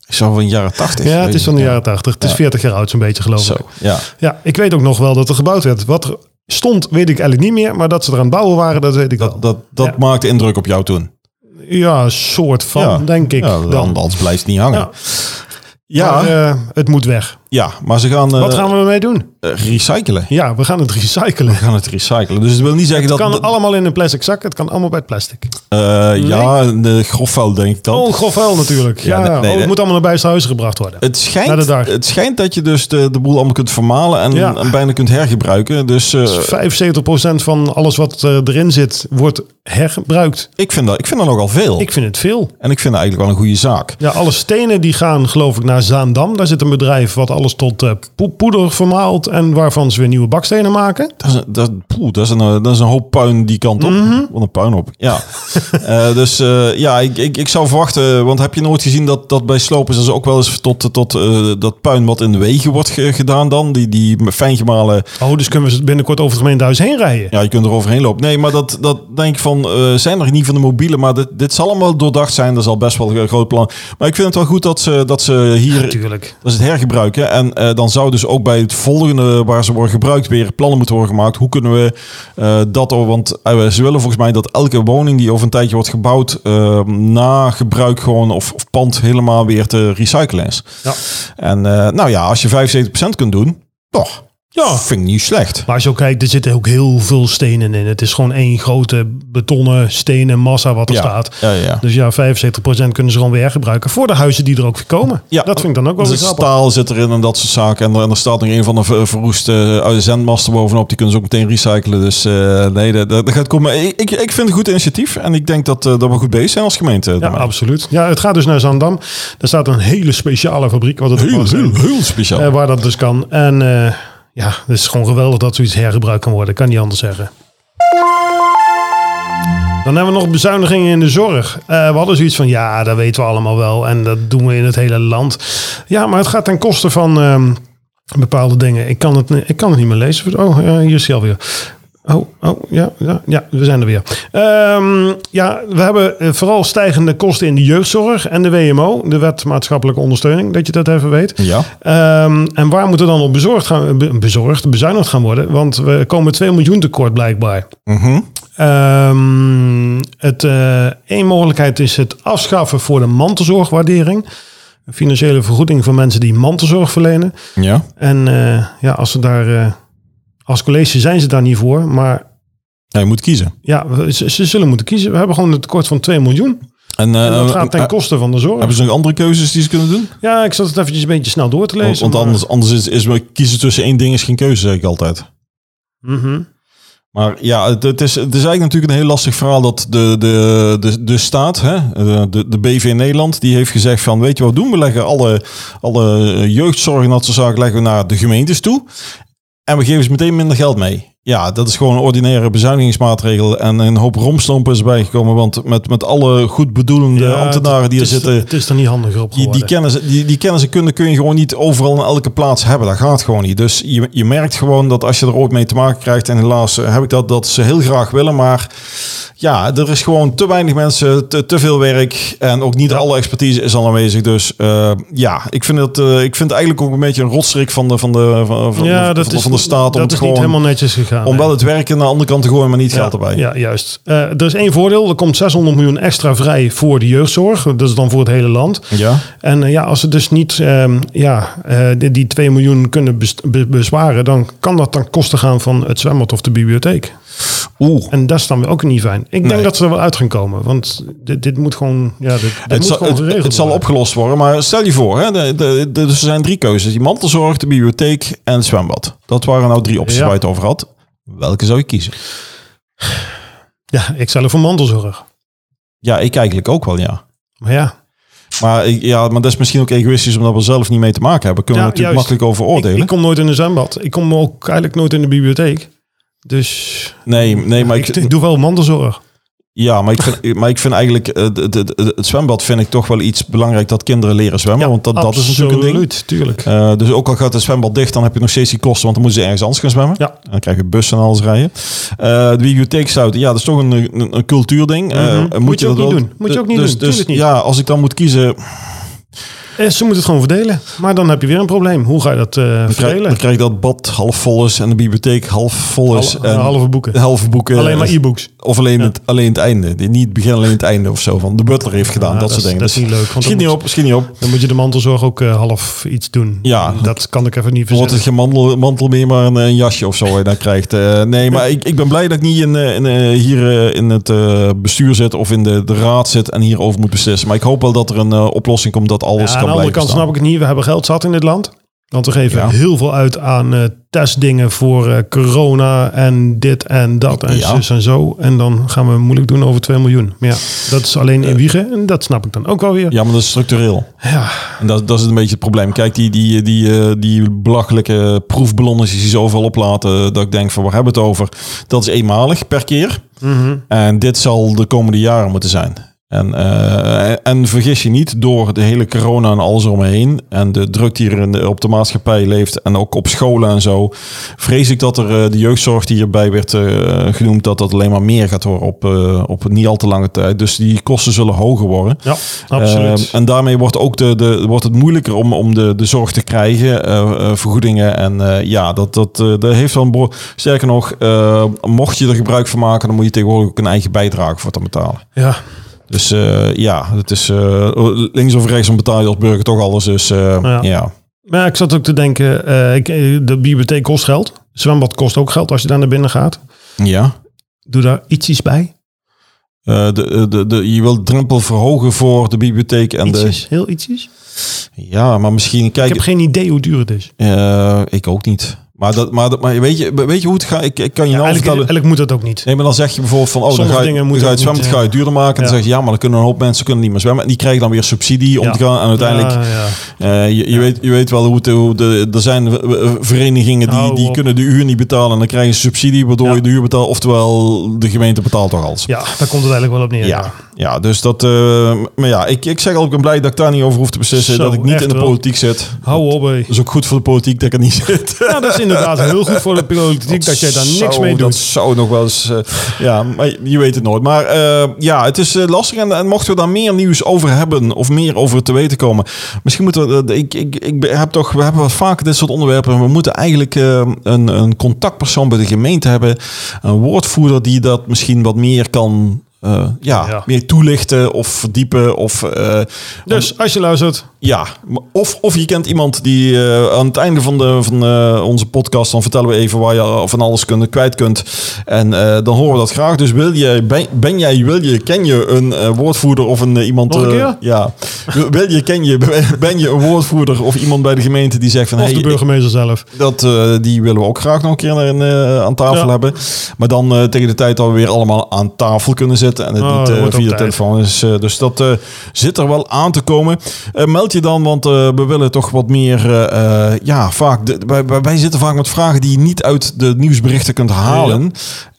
[SPEAKER 2] Ik zou van de jaren 80.
[SPEAKER 3] Ja, het is van de
[SPEAKER 2] Ja.
[SPEAKER 3] jaren 80. Het is 40 jaar oud, zo'n beetje geloof
[SPEAKER 2] Zo,
[SPEAKER 3] ik.
[SPEAKER 2] ja.
[SPEAKER 3] Ja, ik weet ook nog wel dat er gebouwd werd. Wat er stond, weet ik eigenlijk niet meer. Maar dat ze er aan het bouwen waren, dat weet ik wel.
[SPEAKER 2] Dat, dat, dat
[SPEAKER 3] Ja.
[SPEAKER 2] maakte indruk op jou toen.
[SPEAKER 3] ja, een soort van,
[SPEAKER 2] ja.
[SPEAKER 3] denk ik.
[SPEAKER 2] Ja,
[SPEAKER 3] dan.
[SPEAKER 2] Anders blijft het niet hangen.
[SPEAKER 3] Ja.
[SPEAKER 2] Ja,
[SPEAKER 3] Ja,
[SPEAKER 2] ja,
[SPEAKER 3] maar,
[SPEAKER 2] maar,
[SPEAKER 3] eh, het moet weg.
[SPEAKER 2] ze gaan, eh,
[SPEAKER 3] Wat gaan we ermee doen?
[SPEAKER 2] eh, recyclen.
[SPEAKER 3] Ja, we gaan het recyclen.
[SPEAKER 2] Ze gaan het recyclen. Dus het wil niet zeggen
[SPEAKER 3] Het
[SPEAKER 2] dat...
[SPEAKER 3] kan
[SPEAKER 2] dat-
[SPEAKER 3] allemaal in een plastic zak. Het kan allemaal bij het plastic.
[SPEAKER 2] eh, Ja, de grofvuil denk ik dan.
[SPEAKER 3] Oh, grof vuil natuurlijk. Ja,
[SPEAKER 2] Ja, nee,
[SPEAKER 3] oh,
[SPEAKER 2] nee,
[SPEAKER 3] het
[SPEAKER 2] nee.
[SPEAKER 3] moet allemaal naar buitenhuizen gebracht worden.
[SPEAKER 2] Het
[SPEAKER 3] Naar de
[SPEAKER 2] schijnt,
[SPEAKER 3] dag.
[SPEAKER 2] het schijnt dat je dus de, de boel allemaal kunt vermalen en,
[SPEAKER 3] Ja.
[SPEAKER 2] en bijna kunt hergebruiken. Dus eh,
[SPEAKER 3] 75% van alles wat eh, erin zit, wordt hergebruikt.
[SPEAKER 2] ik, vind dat, ik vind dat nogal veel.
[SPEAKER 3] Ik vind het veel.
[SPEAKER 2] En ik vind dat eigenlijk wel een goede zaak.
[SPEAKER 3] Ja, alle stenen die gaan geloof ik naar Zaandam. Daar zit een bedrijf wat alles tot eh, po- poeder vermaalt en waarvan ze weer nieuwe bakstenen maken.
[SPEAKER 2] Dat is, een- dat, poeh, dat, is een, eh, dat is een hoop puin die kant op. Wat een puin op. Ja. Eh, dus eh, ja, ik, ik, ik zou verwachten. Want heb je nooit gezien dat, dat bij slopers is ook wel eens tot, tot eh, dat puin wat in de wegen wordt ge- gedaan dan? Die, die fijngemalen.
[SPEAKER 3] Oh, dus kunnen we binnenkort over het gemeentehuis heen rijden.
[SPEAKER 2] Ja, je kunt er overheen lopen. Nee, maar dat, dat denk ik van. eh, zijn er niet van de mobiele. Maar dit, dit zal allemaal doordacht zijn. Dat is al best wel een groot plan. Maar ik vind het wel goed dat ze, dat ze hier
[SPEAKER 3] Natuurlijk.
[SPEAKER 2] dat is het hergebruiken. En eh, dan zou dus ook bij het volgende waar ze worden gebruikt weer plannen moeten worden gemaakt. Hoe kunnen we eh, dat over? Want eh, ze willen volgens mij dat elke woning die over een tijdje wordt gebouwd eh, na gebruik gewoon of, of pand helemaal weer te recyclen is.
[SPEAKER 3] Ja.
[SPEAKER 2] En eh, nou ja, als je 75% kunt doen, toch? Ja, vind ik niet slecht.
[SPEAKER 3] Maar als je ook kijkt, er zitten ook heel veel stenen in. Het is gewoon één grote betonnen stenen massa wat er
[SPEAKER 2] ja.
[SPEAKER 3] staat.
[SPEAKER 2] Ja, ja.
[SPEAKER 3] Dus ja, 75% kunnen ze gewoon weer hergebruiken voor de huizen die er ook weer komen.
[SPEAKER 2] Ja.
[SPEAKER 3] dat vind ik dan ook wel
[SPEAKER 2] Dus
[SPEAKER 3] weer
[SPEAKER 2] het
[SPEAKER 3] grappig.
[SPEAKER 2] staal zit erin en dat soort zaken. En er, en er staat nog een van de ver- verroeste eh, zendmasten bovenop. Die kunnen ze ook meteen recyclen. Dus eh, nee, dat, dat dat gaat komen. Ik, ik, ik vind het een goed initiatief. En ik denk dat, eh, dat we goed bezig zijn als gemeente.
[SPEAKER 3] Ja,
[SPEAKER 2] daarmee.
[SPEAKER 3] absoluut. Ja, het gaat dus naar Zaandam. Daar staat een hele speciale fabriek. Wat het ook
[SPEAKER 2] heel,
[SPEAKER 3] was.
[SPEAKER 2] heel, heel speciaal.
[SPEAKER 3] Eh, waar dat dus kan. En eh, ja, het is gewoon geweldig dat zoiets hergebruikt kan worden. Ik kan niet anders zeggen. Dan hebben we nog bezuinigingen in de zorg. Eh, we hadden zoiets van, ja, dat weten we allemaal wel. En dat doen we in het hele land. Ja, maar het gaat ten koste van ehm, bepaalde dingen. Ik kan, het, ni- ik kan het niet meer lezen. Oh, ja, hier is hij alweer. Oh, oh ja, ja, ja, we zijn er weer. Ehm, ja, we hebben eh, vooral stijgende kosten in de jeugdzorg en de WMO. De wet maatschappelijke ondersteuning, dat je dat even weet.
[SPEAKER 2] ja.
[SPEAKER 3] Ehm, en waar moet er dan op bezorgd gaan, be- bezorgd, bezuinigd gaan worden? Want we komen 2 miljoen tekort blijkbaar.
[SPEAKER 2] Mhm.
[SPEAKER 3] Ehm het, eh één mogelijkheid is het afschaffen voor de mantelzorgwaardering. Een financiële vergoeding voor mensen die mantelzorg verlenen.
[SPEAKER 2] ja.
[SPEAKER 3] En eh, ja, als, ze daar, eh, als college zijn ze daar niet voor. Maar
[SPEAKER 2] Ja, je moet kiezen.
[SPEAKER 3] ja, we- ze, ze zullen moeten kiezen. We hebben gewoon een tekort van 2 miljoen.
[SPEAKER 2] En, eh,
[SPEAKER 3] En dat gaat
[SPEAKER 2] eh,
[SPEAKER 3] ten koste van de zorg.
[SPEAKER 2] hebben ze nog andere keuzes die ze kunnen doen?
[SPEAKER 3] Ja, ik zat het eventjes een beetje snel door te lezen.
[SPEAKER 2] Want
[SPEAKER 3] maar-
[SPEAKER 2] anders, anders is, is kiezen tussen één ding is geen keuze, zeg ik altijd.
[SPEAKER 3] Mhm.
[SPEAKER 2] Maar ja, het, het, is, het is eigenlijk natuurlijk een heel lastig verhaal dat de, de, de, de staat, hè, eh, de, de BV Nederland, die heeft gezegd van weet je wat we doen, we leggen alle, alle jeugdzorg en dat soort zaken leggen we naar de gemeentes toe. En we geven ze meteen minder geld mee. Ja, dat is gewoon een ordinaire bezuinigingsmaatregel. En een hoop romstompen is bijgekomen. Want met, met alle goedbedoelende
[SPEAKER 3] Ja,
[SPEAKER 2] ambtenaren die er
[SPEAKER 3] het is-
[SPEAKER 2] zitten.
[SPEAKER 3] Het is er niet handiger op
[SPEAKER 2] Die,
[SPEAKER 3] geworden.
[SPEAKER 2] die, kennis, die, die kennis en kunde kun je gewoon niet overal in elke plaats hebben. Dat gaat gewoon niet. Dus je, je merkt gewoon dat als je er ooit mee te maken krijgt... en helaas eh, heb ik dat, dat ze heel graag willen. Maar ja, er is gewoon te weinig mensen, te, te veel werk... en ook niet alle expertise is al aanwezig. Dus eh, ja, ik vind, het, eh, ik vind het eigenlijk ook een beetje een rotstrik van de, van de, van, van,
[SPEAKER 3] ja,
[SPEAKER 2] van-
[SPEAKER 3] dat
[SPEAKER 2] van,
[SPEAKER 3] is,
[SPEAKER 2] van de staat... om,
[SPEAKER 3] dat
[SPEAKER 2] het
[SPEAKER 3] is
[SPEAKER 2] gewoon,
[SPEAKER 3] niet helemaal netjes gegaan.
[SPEAKER 2] om
[SPEAKER 3] nee.
[SPEAKER 2] wel het werk aan de andere kant te gooien, maar niet geld
[SPEAKER 3] ja,
[SPEAKER 2] erbij.
[SPEAKER 3] Ja, juist. Eh, er is één voordeel. Er komt 600 miljoen extra vrij voor de jeugdzorg. Dat is dan voor het hele land.
[SPEAKER 2] ja?
[SPEAKER 3] En eh, ja, als ze dus niet ehm, ja, eh, die, die 2 miljoen kunnen bes- be- bezwaren... dan kan dat ten koste gaan van het zwembad of de bibliotheek.
[SPEAKER 2] Oeh.
[SPEAKER 3] En dat is dan weer ook niet fijn. Ik denk
[SPEAKER 2] Nee.
[SPEAKER 3] dat ze er wel uit gaan komen. Want dit, dit moet gewoon, ja, dit, dit
[SPEAKER 2] Het
[SPEAKER 3] moet
[SPEAKER 2] zal,
[SPEAKER 3] gewoon
[SPEAKER 2] het,
[SPEAKER 3] geregeld
[SPEAKER 2] het zal
[SPEAKER 3] worden.
[SPEAKER 2] opgelost worden, maar stel je voor, hè, de, de, de- dus er zijn drie keuzes. Die mantelzorg, de bibliotheek en het zwembad. Dat waren nou drie opties
[SPEAKER 3] Ja.
[SPEAKER 2] waar je het over had. Welke zou je kiezen?
[SPEAKER 3] Ja, ik zelf voor mantelzorg.
[SPEAKER 2] Ja, ik eigenlijk ook wel, ja.
[SPEAKER 3] Maar ja,
[SPEAKER 2] Maar, ik- ja, maar dat is misschien ook egoïstisch omdat we zelf niet mee te maken hebben. Kunnen
[SPEAKER 3] Ja,
[SPEAKER 2] we natuurlijk
[SPEAKER 3] juist.
[SPEAKER 2] makkelijk over
[SPEAKER 3] ik,
[SPEAKER 2] oordelen.
[SPEAKER 3] ik kom nooit in een zwembad. Ik kom ook eigenlijk nooit in de bibliotheek. Dus
[SPEAKER 2] nee, nee, maar
[SPEAKER 3] ik,
[SPEAKER 2] ik,
[SPEAKER 3] doe wel mantelzorg.
[SPEAKER 2] Ja, maar ik vind, maar ik vind eigenlijk eh, de- de- de- het zwembad vind ik toch wel iets belangrijk dat kinderen leren zwemmen. want dat, dat is natuurlijk een ding.
[SPEAKER 3] Absoluut, tuurlijk.
[SPEAKER 2] Eh, dus ook al gaat het zwembad dicht, dan heb je nog steeds die kosten, want dan moeten ze ergens anders gaan zwemmen.
[SPEAKER 3] Ja.
[SPEAKER 2] En dan krijg je bussen en alles rijden. Eh, de bibliotheek sluiten, ja, dat is toch een, een, een cultuurding. Eh,
[SPEAKER 3] Mhm.
[SPEAKER 2] moet,
[SPEAKER 3] Moet je
[SPEAKER 2] dat
[SPEAKER 3] ook niet doen. Moet je ook niet
[SPEAKER 2] dus,
[SPEAKER 3] doen,
[SPEAKER 2] Dus,
[SPEAKER 3] tuurlijk niet.
[SPEAKER 2] Ja, als ik dan moet kiezen, dan
[SPEAKER 3] Eh, Ze moeten het gewoon verdelen. Maar dan heb je weer een probleem. Hoe ga je dat eh,
[SPEAKER 2] krijg, dan
[SPEAKER 3] verdelen?
[SPEAKER 2] krijg ik dat bad half vol is en de bibliotheek half vol is.
[SPEAKER 3] Hal-
[SPEAKER 2] en
[SPEAKER 3] halve boeken.
[SPEAKER 2] de halve boeken.
[SPEAKER 3] Alleen maar e-books.
[SPEAKER 2] Of alleen, het, alleen het einde. Die- Niet het begin, alleen het einde of zo. Van de butler heeft gedaan,
[SPEAKER 3] Ja,
[SPEAKER 2] dat, soort
[SPEAKER 3] is-
[SPEAKER 2] dingen.
[SPEAKER 3] Dat is
[SPEAKER 2] Dus
[SPEAKER 3] niet leuk. Want
[SPEAKER 2] schiet
[SPEAKER 3] dan,
[SPEAKER 2] niet
[SPEAKER 3] moet,
[SPEAKER 2] op, schiet niet op.
[SPEAKER 3] dan moet je de mantelzorg ook eh, half iets doen.
[SPEAKER 2] Ja.
[SPEAKER 3] Dat kan ik even niet
[SPEAKER 2] Dan wordt
[SPEAKER 3] verzinnen.
[SPEAKER 2] het geen mantel, mantel meer, maar een, een jasje of zo wat je dan krijgt. Eh, nee, maar ik, ik ben blij dat ik niet in, eh, in, eh, hier eh, in het eh, bestuur zit of in de, de raad zit en hierover moet beslissen. Maar ik hoop wel dat er een eh, oplossing komt dat alles
[SPEAKER 3] Ja, aan
[SPEAKER 2] kan
[SPEAKER 3] de andere
[SPEAKER 2] blijven
[SPEAKER 3] kant
[SPEAKER 2] staan.
[SPEAKER 3] snap ik het niet. We hebben geld zat in dit land. Want we geven
[SPEAKER 2] Ja.
[SPEAKER 3] heel veel uit aan eh, testdingen voor eh, corona en dit en dat en
[SPEAKER 2] Ja.
[SPEAKER 3] zus en zo. En dan gaan we moeilijk doen over 2 miljoen. Maar ja, dat is alleen in Wiegen. En dat snap ik dan ook wel weer.
[SPEAKER 2] Eh. Ja, maar dat is structureel.
[SPEAKER 3] Ja.
[SPEAKER 2] En dat, dat is een beetje het probleem. Kijk, die, die, die, eh, die belachelijke proefballonnetjes die ze overal oplaten, dat ik denk van waar hebben we het over? Dat is eenmalig per keer.
[SPEAKER 3] Mhm.
[SPEAKER 2] En dit zal de komende jaren moeten zijn. En, eh, en vergis je niet, door de hele corona en alles eromheen en de druk die er in de- op de maatschappij leeft en ook op scholen en zo, vrees ik dat er eh, de jeugdzorg die hierbij werd eh, genoemd, dat dat alleen maar meer gaat worden op, eh, op niet al te lange tijd. Dus die kosten zullen hoger worden.
[SPEAKER 3] Ja, absoluut.
[SPEAKER 2] Ehm, en daarmee wordt, ook de, de, wordt het moeilijker om, om de, de zorg te krijgen, eh, eh, vergoedingen. En eh, ja, dat, dat, eh, dat heeft wel een bro- Sterker nog, eh, mocht je er gebruik van maken, dan moet je tegenwoordig ook een eigen bijdrage voor te betalen.
[SPEAKER 3] ja.
[SPEAKER 2] Dus eh, ja, het is eh, links of rechts dan betaal je als burger toch alles. Dus eh,
[SPEAKER 3] Ja.
[SPEAKER 2] ja.
[SPEAKER 3] Maar ja, ik zat ook te denken, eh, ik, eh, de bibliotheek kost geld. Zwembad kost ook geld als je daar naar binnen gaat.
[SPEAKER 2] ja.
[SPEAKER 3] Doe daar ietsjes bij.
[SPEAKER 2] Eh, de, de, de, je wilt de drempel verhogen voor de bibliotheek en de...
[SPEAKER 3] Ietsjes, heel ietsjes.
[SPEAKER 2] Ja, maar misschien... Kijk,
[SPEAKER 3] Ik heb geen idee hoe duur het is.
[SPEAKER 2] eh, ik ook niet. Maar, dat, maar, dat, maar weet, je, weet je hoe het gaat? Ik, ik kan je nou
[SPEAKER 3] Eigenlijk,
[SPEAKER 2] vertellen...
[SPEAKER 3] eigenlijk moet dat ook niet.
[SPEAKER 2] Nee, maar dan zeg je bijvoorbeeld van, oh,
[SPEAKER 3] Sommige
[SPEAKER 2] dan ga je,
[SPEAKER 3] dingen
[SPEAKER 2] dan
[SPEAKER 3] moeten
[SPEAKER 2] ga je het
[SPEAKER 3] ook
[SPEAKER 2] zwemmen,
[SPEAKER 3] niet,
[SPEAKER 2] ga je het duurder maken. En
[SPEAKER 3] ja.
[SPEAKER 2] dan zeg je, ja, maar dan kunnen een hoop mensen kunnen niet meer zwemmen. En die krijgen dan weer subsidie om
[SPEAKER 3] Ja.
[SPEAKER 2] te gaan. En uiteindelijk,
[SPEAKER 3] Ja, ja.
[SPEAKER 2] eh, je, je weet, je weet wel hoe, het, hoe de, er zijn eh, verenigingen die,
[SPEAKER 3] Hou
[SPEAKER 2] die
[SPEAKER 3] op.
[SPEAKER 2] kunnen de huur niet betalen. En dan krijgen ze subsidie, waardoor
[SPEAKER 3] Nou, Ja.
[SPEAKER 2] je de huur betaalt. Oftewel, de gemeente betaalt toch alles.
[SPEAKER 3] Ja, daar komt het eigenlijk wel op neer.
[SPEAKER 2] Ja, ja, dus dat... eh, maar ja, ik, ik zeg al, ik ben blij dat ik daar niet over hoef te beslissen.
[SPEAKER 3] Zo,
[SPEAKER 2] dat ik niet
[SPEAKER 3] echt
[SPEAKER 2] in de
[SPEAKER 3] wel.
[SPEAKER 2] politiek zit.
[SPEAKER 3] Hou op, hé.
[SPEAKER 2] Dat is ook goed voor de politiek dat ik er niet zit.
[SPEAKER 3] Ja, dat is inderdaad heel goed voor de politiek dat jij daar niks
[SPEAKER 2] zou-
[SPEAKER 3] mee
[SPEAKER 2] Dat
[SPEAKER 3] doet.
[SPEAKER 2] zou nog wel eens... eh, ja, maar je- je weet het nooit. Maar eh, ja, het is eh, lastig. En, en mochten we daar meer nieuws over hebben... of meer over te weten komen... misschien moeten we... eh, ik, ik, ik be- heb toch, we hebben wat vaker dit soort onderwerpen... we moeten eigenlijk eh, een, een contactpersoon bij de gemeente hebben. Een woordvoerder die dat misschien wat meer kan... eh, ja,
[SPEAKER 3] Ja.
[SPEAKER 2] meer toelichten of verdiepen. Of, eh, want-
[SPEAKER 3] Dus als je luistert,
[SPEAKER 2] ja, maar of, of je kent iemand die eh, aan het einde van, de, van eh, onze podcast, dan vertellen we even waar je van alles kunt, kwijt kunt. En eh, dan horen we dat graag. Dus wil je, ben, ben jij, wil je, ken je een eh, woordvoerder of een, eh, iemand...
[SPEAKER 3] Nog een
[SPEAKER 2] eh,
[SPEAKER 3] keer?
[SPEAKER 2] ja. Wil- Wil je, ken je, ben je een woordvoerder of iemand bij de gemeente die zegt van...
[SPEAKER 3] of
[SPEAKER 2] hey,
[SPEAKER 3] de burgemeester zelf.
[SPEAKER 2] dat, eh, die willen we ook graag nog een keer naar een, eh, aan tafel
[SPEAKER 3] Ja.
[SPEAKER 2] hebben. Maar dan eh, tegen de tijd dat we weer allemaal aan tafel kunnen zitten. En het
[SPEAKER 3] Oh,
[SPEAKER 2] niet
[SPEAKER 3] dat
[SPEAKER 2] eh,
[SPEAKER 3] wordt op
[SPEAKER 2] via de
[SPEAKER 3] tijd.
[SPEAKER 2] telefoon is. eh, dus dat eh, zit er wel aan te komen. Eh, meld je dan, want eh, we willen toch wat meer... eh, eh, ja, vaak, de- wij, wij- wij zitten vaak met vragen die je niet uit de nieuwsberichten kunt halen.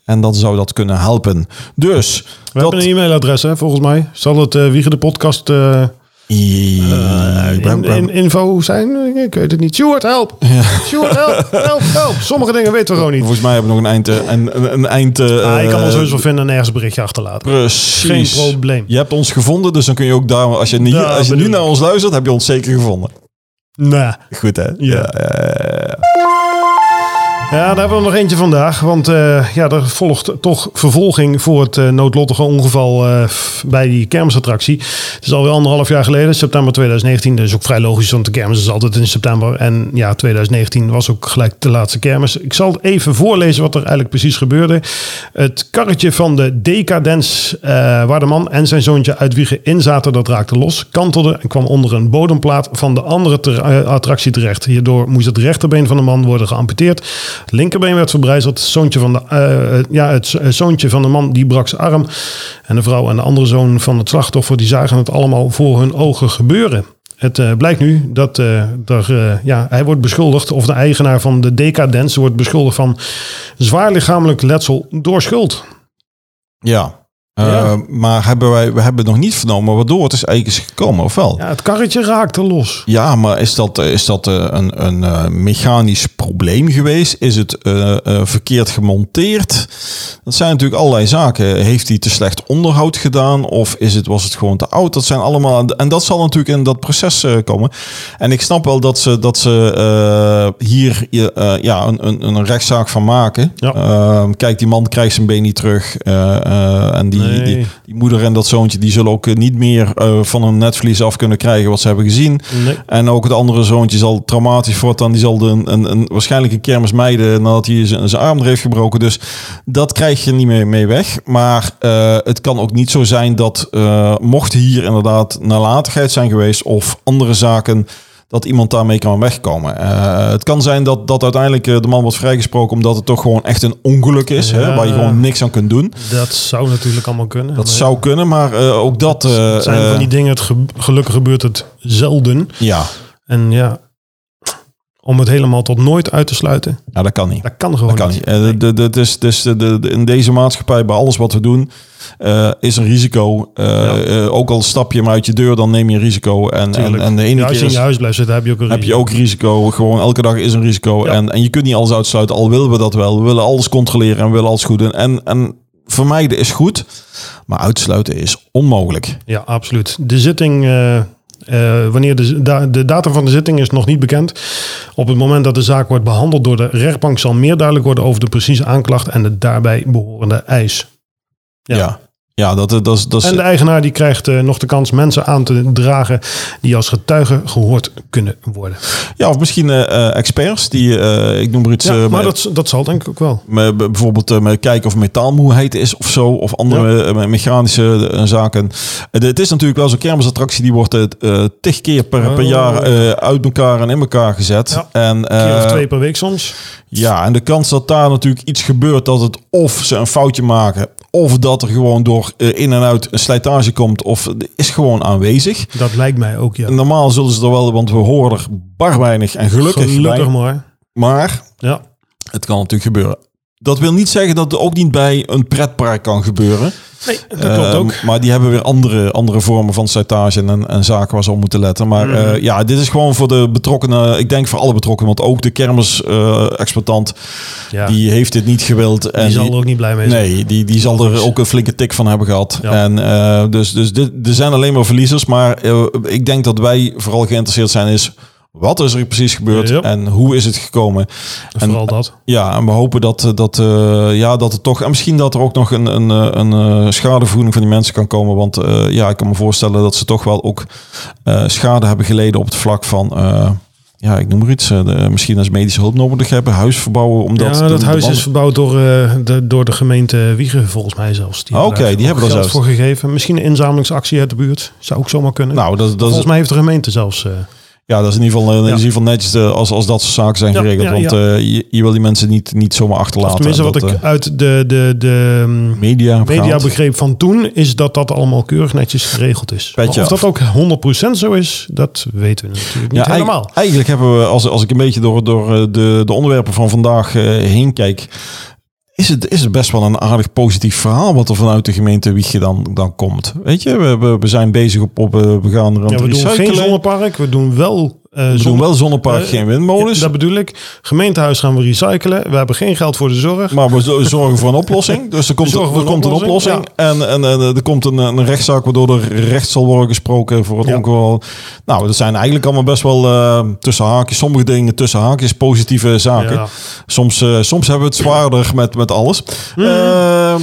[SPEAKER 2] En dan zou dat kunnen helpen. Dus...
[SPEAKER 3] We
[SPEAKER 2] dat,
[SPEAKER 3] hebben een e-mailadres, hè, volgens mij. Zal het eh Wiegen de podcast eh,
[SPEAKER 2] I- we- we-
[SPEAKER 3] in, in- info zijn? Ik weet het niet. Stuart, help! Stuart, help! Help, help! Sommige dingen weten we gewoon niet.
[SPEAKER 2] Volgens mij hebben we nog een eind... eh, een, een, een eind eh,
[SPEAKER 3] Ah, ik kan ons sowieso vinden en ergens een berichtje achterlaten.
[SPEAKER 2] Precies.
[SPEAKER 3] Geen probleem.
[SPEAKER 2] Je hebt ons gevonden, dus dan kun je ook daar... Als je, niet,
[SPEAKER 3] Ja,
[SPEAKER 2] als je nu
[SPEAKER 3] bedoel
[SPEAKER 2] naar
[SPEAKER 3] ik.
[SPEAKER 2] ons luistert, heb je ons zeker gevonden.
[SPEAKER 3] Nee.
[SPEAKER 2] Goed, hè? Ja. ja,
[SPEAKER 3] Ja, daar hebben we nog eentje vandaag. Want eh, ja, er volgt toch vervolging voor het eh, noodlottige ongeval eh, f- bij die kermisattractie. Het is alweer anderhalf jaar geleden, september 2019. Dat is ook vrij logisch, want de kermis is altijd in september. En ja, 2019 was ook gelijk de laatste kermis. Ik zal even voorlezen wat er eigenlijk precies gebeurde. Het karretje van de Decadence, eh, waar de man en zijn zoontje uit Wiegen in zaten, dat raakte los, kantelde en kwam onder een bodemplaat van de andere ter- eh, attractie terecht. Hierdoor moest het rechterbeen van de man worden geamputeerd. Het linkerbeen werd verbrijzeld. Het zoontje van de, eh, eh, ja, het z- eh, zoontje van de man die brak zijn arm. En de vrouw en de andere zoon van het slachtoffer die zagen het allemaal voor hun ogen gebeuren. Het eh, blijkt nu dat eh, daar, eh, ja, hij wordt beschuldigd, of de eigenaar van de Decadence wordt beschuldigd van zwaar lichamelijk letsel door schuld.
[SPEAKER 2] Eh,
[SPEAKER 3] Ja.
[SPEAKER 2] Maar hebben wij, we hebben nog niet vernomen waardoor het is eigenlijk is gekomen, of wel? Ja.
[SPEAKER 3] Ja, het karretje raakte los.
[SPEAKER 2] maar is dat, eh, is dat eh, een, een eh, mechanisch probleem geweest? Is het eh, eh, verkeerd gemonteerd? Dat zijn natuurlijk allerlei zaken. Heeft hij te slecht onderhoud gedaan? Of is het, was het gewoon te oud? Dat zijn allemaal. En dat zal natuurlijk in dat proces eh, komen. En ik snap wel dat ze, dat ze eh, hier eh, ja, een, een, een rechtszaak van maken.
[SPEAKER 3] Ja.
[SPEAKER 2] Ehm, kijk, die man krijgt zijn been niet terug. Eh, eh, en die,
[SPEAKER 3] Nee.
[SPEAKER 2] die, die moeder en dat zoontje die zullen ook eh, niet meer eh, van hun netvlies af kunnen krijgen wat ze hebben gezien.
[SPEAKER 3] Nee.
[SPEAKER 2] En ook het andere zoontje zal traumatisch voortaan. Die zal de, een, een, een- waarschijnlijk een kermis mijden nadat hij zijn, zijn arm er heeft gebroken. Dus dat krijg je niet meer mee weg. Maar eh, het kan ook niet zo zijn dat eh, mocht hier inderdaad nalatigheid zijn geweest of andere zaken dat iemand daarmee kan wegkomen. Eh, het kan zijn dat, dat uiteindelijk eh, de man wordt vrijgesproken omdat het toch gewoon echt een ongeluk is, hè,
[SPEAKER 3] Ja.
[SPEAKER 2] waar je gewoon niks aan kunt doen.
[SPEAKER 3] Dat zou natuurlijk allemaal kunnen.
[SPEAKER 2] Dat
[SPEAKER 3] Maar
[SPEAKER 2] zou kunnen, maar eh, ook dat. eh,
[SPEAKER 3] het zijn van die
[SPEAKER 2] eh,
[SPEAKER 3] dingen, het ge- gelukkig gebeurt het zelden.
[SPEAKER 2] ja.
[SPEAKER 3] En ja, om het helemaal tot nooit uit te sluiten,
[SPEAKER 2] ja, dat kan niet.
[SPEAKER 3] dat kan gewoon
[SPEAKER 2] Dat kan
[SPEAKER 3] niet.
[SPEAKER 2] niet. Eh, de- de- de- Dus, dus de, de, de- in deze maatschappij, bij alles wat we doen, eh, is een risico. Eh, eh, ook al stap je maar uit je deur, dan neem je een risico. En, en,
[SPEAKER 3] Tuurlijk.
[SPEAKER 2] en de ene
[SPEAKER 3] Ja, als
[SPEAKER 2] keer
[SPEAKER 3] je in
[SPEAKER 2] is-
[SPEAKER 3] je huis blijft zitten, heb je ook een
[SPEAKER 2] heb je
[SPEAKER 3] risico.
[SPEAKER 2] ook risico. Gewoon elke dag is een risico.
[SPEAKER 3] Ja.
[SPEAKER 2] En, en je kunt niet alles uitsluiten, al willen we dat wel. We willen alles controleren en we willen alles goed doen. En, en vermijden is goed, maar uitsluiten is onmogelijk.
[SPEAKER 3] Ja, absoluut. De zitting, eh, eh, wanneer de, da- de datum van de zitting is nog niet bekend. Op het moment dat de zaak wordt behandeld door de rechtbank zal meer duidelijk worden over de precieze aanklacht en de daarbij behorende eis.
[SPEAKER 2] Ja,
[SPEAKER 3] Ja.
[SPEAKER 2] ja. dat, dat, dat, dat is...
[SPEAKER 3] En de eigenaar die krijgt eh, nog de kans mensen aan te dragen die als getuigen gehoord kunnen worden.
[SPEAKER 2] Ja, of misschien eh, eh, experts die, eh, ik noem maar iets...
[SPEAKER 3] Ja,
[SPEAKER 2] eh,
[SPEAKER 3] maar dat, dat zal denk ik ook wel.
[SPEAKER 2] me- b- bijvoorbeeld eh, me kijken of metaalmoeheid is of zo. Of andere eh, mechanische eh, zaken. Eh, Het is natuurlijk wel zo'n kermisattractie. Die wordt eh, eh tig keer per, per
[SPEAKER 3] Oh.
[SPEAKER 2] jaar eh, uit elkaar en in elkaar gezet. En,
[SPEAKER 3] Een keer
[SPEAKER 2] eh,
[SPEAKER 3] of twee per week soms.
[SPEAKER 2] ja, en de kans dat daar natuurlijk iets gebeurt. Dat het of ze een foutje maken. Of dat er gewoon door eh, in en uit een slijtage komt. Of eh, is gewoon aanwezig.
[SPEAKER 3] Dat lijkt mij ook, ja.
[SPEAKER 2] En normaal zullen ze er wel, want we horen er bar weinig Nou, en gelukkig,
[SPEAKER 3] Gelukkig
[SPEAKER 2] weinig.
[SPEAKER 3] maar.
[SPEAKER 2] Maar
[SPEAKER 3] Ja.
[SPEAKER 2] het kan natuurlijk gebeuren. Dat wil niet zeggen dat het ook niet bij een pretpark kan gebeuren.
[SPEAKER 3] Nee, dat klopt
[SPEAKER 2] Eh,
[SPEAKER 3] ook.
[SPEAKER 2] Maar die hebben weer andere, andere vormen van slijtage en, en zaken waar ze op moeten letten.
[SPEAKER 3] Mhm.
[SPEAKER 2] Maar eh, ja, dit is gewoon voor de betrokkenen. Ik denk voor alle betrokkenen, want ook de kermisexploitant
[SPEAKER 3] Ja. Die,
[SPEAKER 2] die heeft dit niet gewild. En
[SPEAKER 3] zal er ook niet blij mee zijn.
[SPEAKER 2] Nee, die, die zal er ook een flinke tik van hebben gehad.
[SPEAKER 3] Ja.
[SPEAKER 2] En eh, dus, dus dit, er zijn alleen maar verliezers. Maar eh, ik denk dat wij vooral geïnteresseerd zijn is Wat is er precies gebeurd
[SPEAKER 3] Ja.
[SPEAKER 2] en hoe is het gekomen? En-
[SPEAKER 3] Vooral dat.
[SPEAKER 2] Ja, en we hopen dat, eh, dat, eh, ja, dat het toch... En misschien dat er ook nog een, een, eh, een eh, schadevergoeding van die mensen kan komen. Want eh, ja, ik kan me voorstellen dat ze toch wel ook eh, schade hebben geleden op het vlak van... eh, ja, ik noem maar iets. eh, de- misschien als medische hulp nodig hebben, huis verbouwen. Omdat
[SPEAKER 3] ja,
[SPEAKER 2] de-
[SPEAKER 3] dat
[SPEAKER 2] de
[SPEAKER 3] huis
[SPEAKER 2] banden-
[SPEAKER 3] is verbouwd door, eh, de, door de gemeente Wiegen, volgens mij zelfs.
[SPEAKER 2] Ah,
[SPEAKER 3] hebben
[SPEAKER 2] oké,
[SPEAKER 3] daar
[SPEAKER 2] die
[SPEAKER 3] ook
[SPEAKER 2] hebben daar
[SPEAKER 3] geld voor gegeven. Misschien een inzamelingsactie uit de buurt. Zou ook zomaar kunnen.
[SPEAKER 2] Nou, dat, dat, is,
[SPEAKER 3] volgens mij heeft de gemeente zelfs... eh,
[SPEAKER 2] ja, dat is in ieder geval, eh,
[SPEAKER 3] Ja.
[SPEAKER 2] in ieder geval netjes eh, als, als dat soort zaken zijn
[SPEAKER 3] Ja,
[SPEAKER 2] geregeld.
[SPEAKER 3] ja,
[SPEAKER 2] want
[SPEAKER 3] ja.
[SPEAKER 2] eh, je, je wil die mensen niet, niet zomaar
[SPEAKER 3] of
[SPEAKER 2] achterlaten.
[SPEAKER 3] tenminste,
[SPEAKER 2] En
[SPEAKER 3] wat
[SPEAKER 2] dat,
[SPEAKER 3] ik
[SPEAKER 2] eh,
[SPEAKER 3] uit de, de, de mm,
[SPEAKER 2] media, heb
[SPEAKER 3] media
[SPEAKER 2] gehaald.
[SPEAKER 3] begreep van toen... is dat dat allemaal keurig netjes geregeld is. Maar
[SPEAKER 2] Petje
[SPEAKER 3] of
[SPEAKER 2] af.
[SPEAKER 3] dat ook 100% zo is, dat weten we natuurlijk niet
[SPEAKER 2] Ja, eigenlijk-
[SPEAKER 3] helemaal.
[SPEAKER 2] Eigenlijk hebben we, als, als ik een beetje door, door eh, de, de onderwerpen van vandaag eh, heen kijk, is het, is het best wel een aardig positief verhaal wat er vanuit de gemeente Wiegje dan, dan komt. Weet je, we, we, we zijn bezig op, op eh, we gaan er aan
[SPEAKER 3] Ja,
[SPEAKER 2] het
[SPEAKER 3] we doen geen
[SPEAKER 2] recyclen.
[SPEAKER 3] zonnepark, we doen wel... eh
[SPEAKER 2] we doen
[SPEAKER 3] zonne-
[SPEAKER 2] wel zonnepark,
[SPEAKER 3] eh,
[SPEAKER 2] geen windmolens.
[SPEAKER 3] Ja, dat bedoel ik. Gemeentehuis gaan we recyclen. We hebben geen geld voor de zorg.
[SPEAKER 2] maar we zo- zorgen voor een oplossing. Dus er komt,
[SPEAKER 3] Zorgen
[SPEAKER 2] er
[SPEAKER 3] voor een
[SPEAKER 2] komt een oplossing.
[SPEAKER 3] oplossing,
[SPEAKER 2] En, en, eh, er komt een, een rechtszaak waardoor er recht zal worden gesproken voor het
[SPEAKER 3] Ja.
[SPEAKER 2] ongeval. Nou, dat zijn eigenlijk allemaal best wel eh, tussen haakjes. Sommige dingen tussen haakjes positieve zaken.
[SPEAKER 3] Ja.
[SPEAKER 2] Soms, eh, soms hebben we het zwaarder met, met alles.
[SPEAKER 3] Mm.
[SPEAKER 2] Ehm,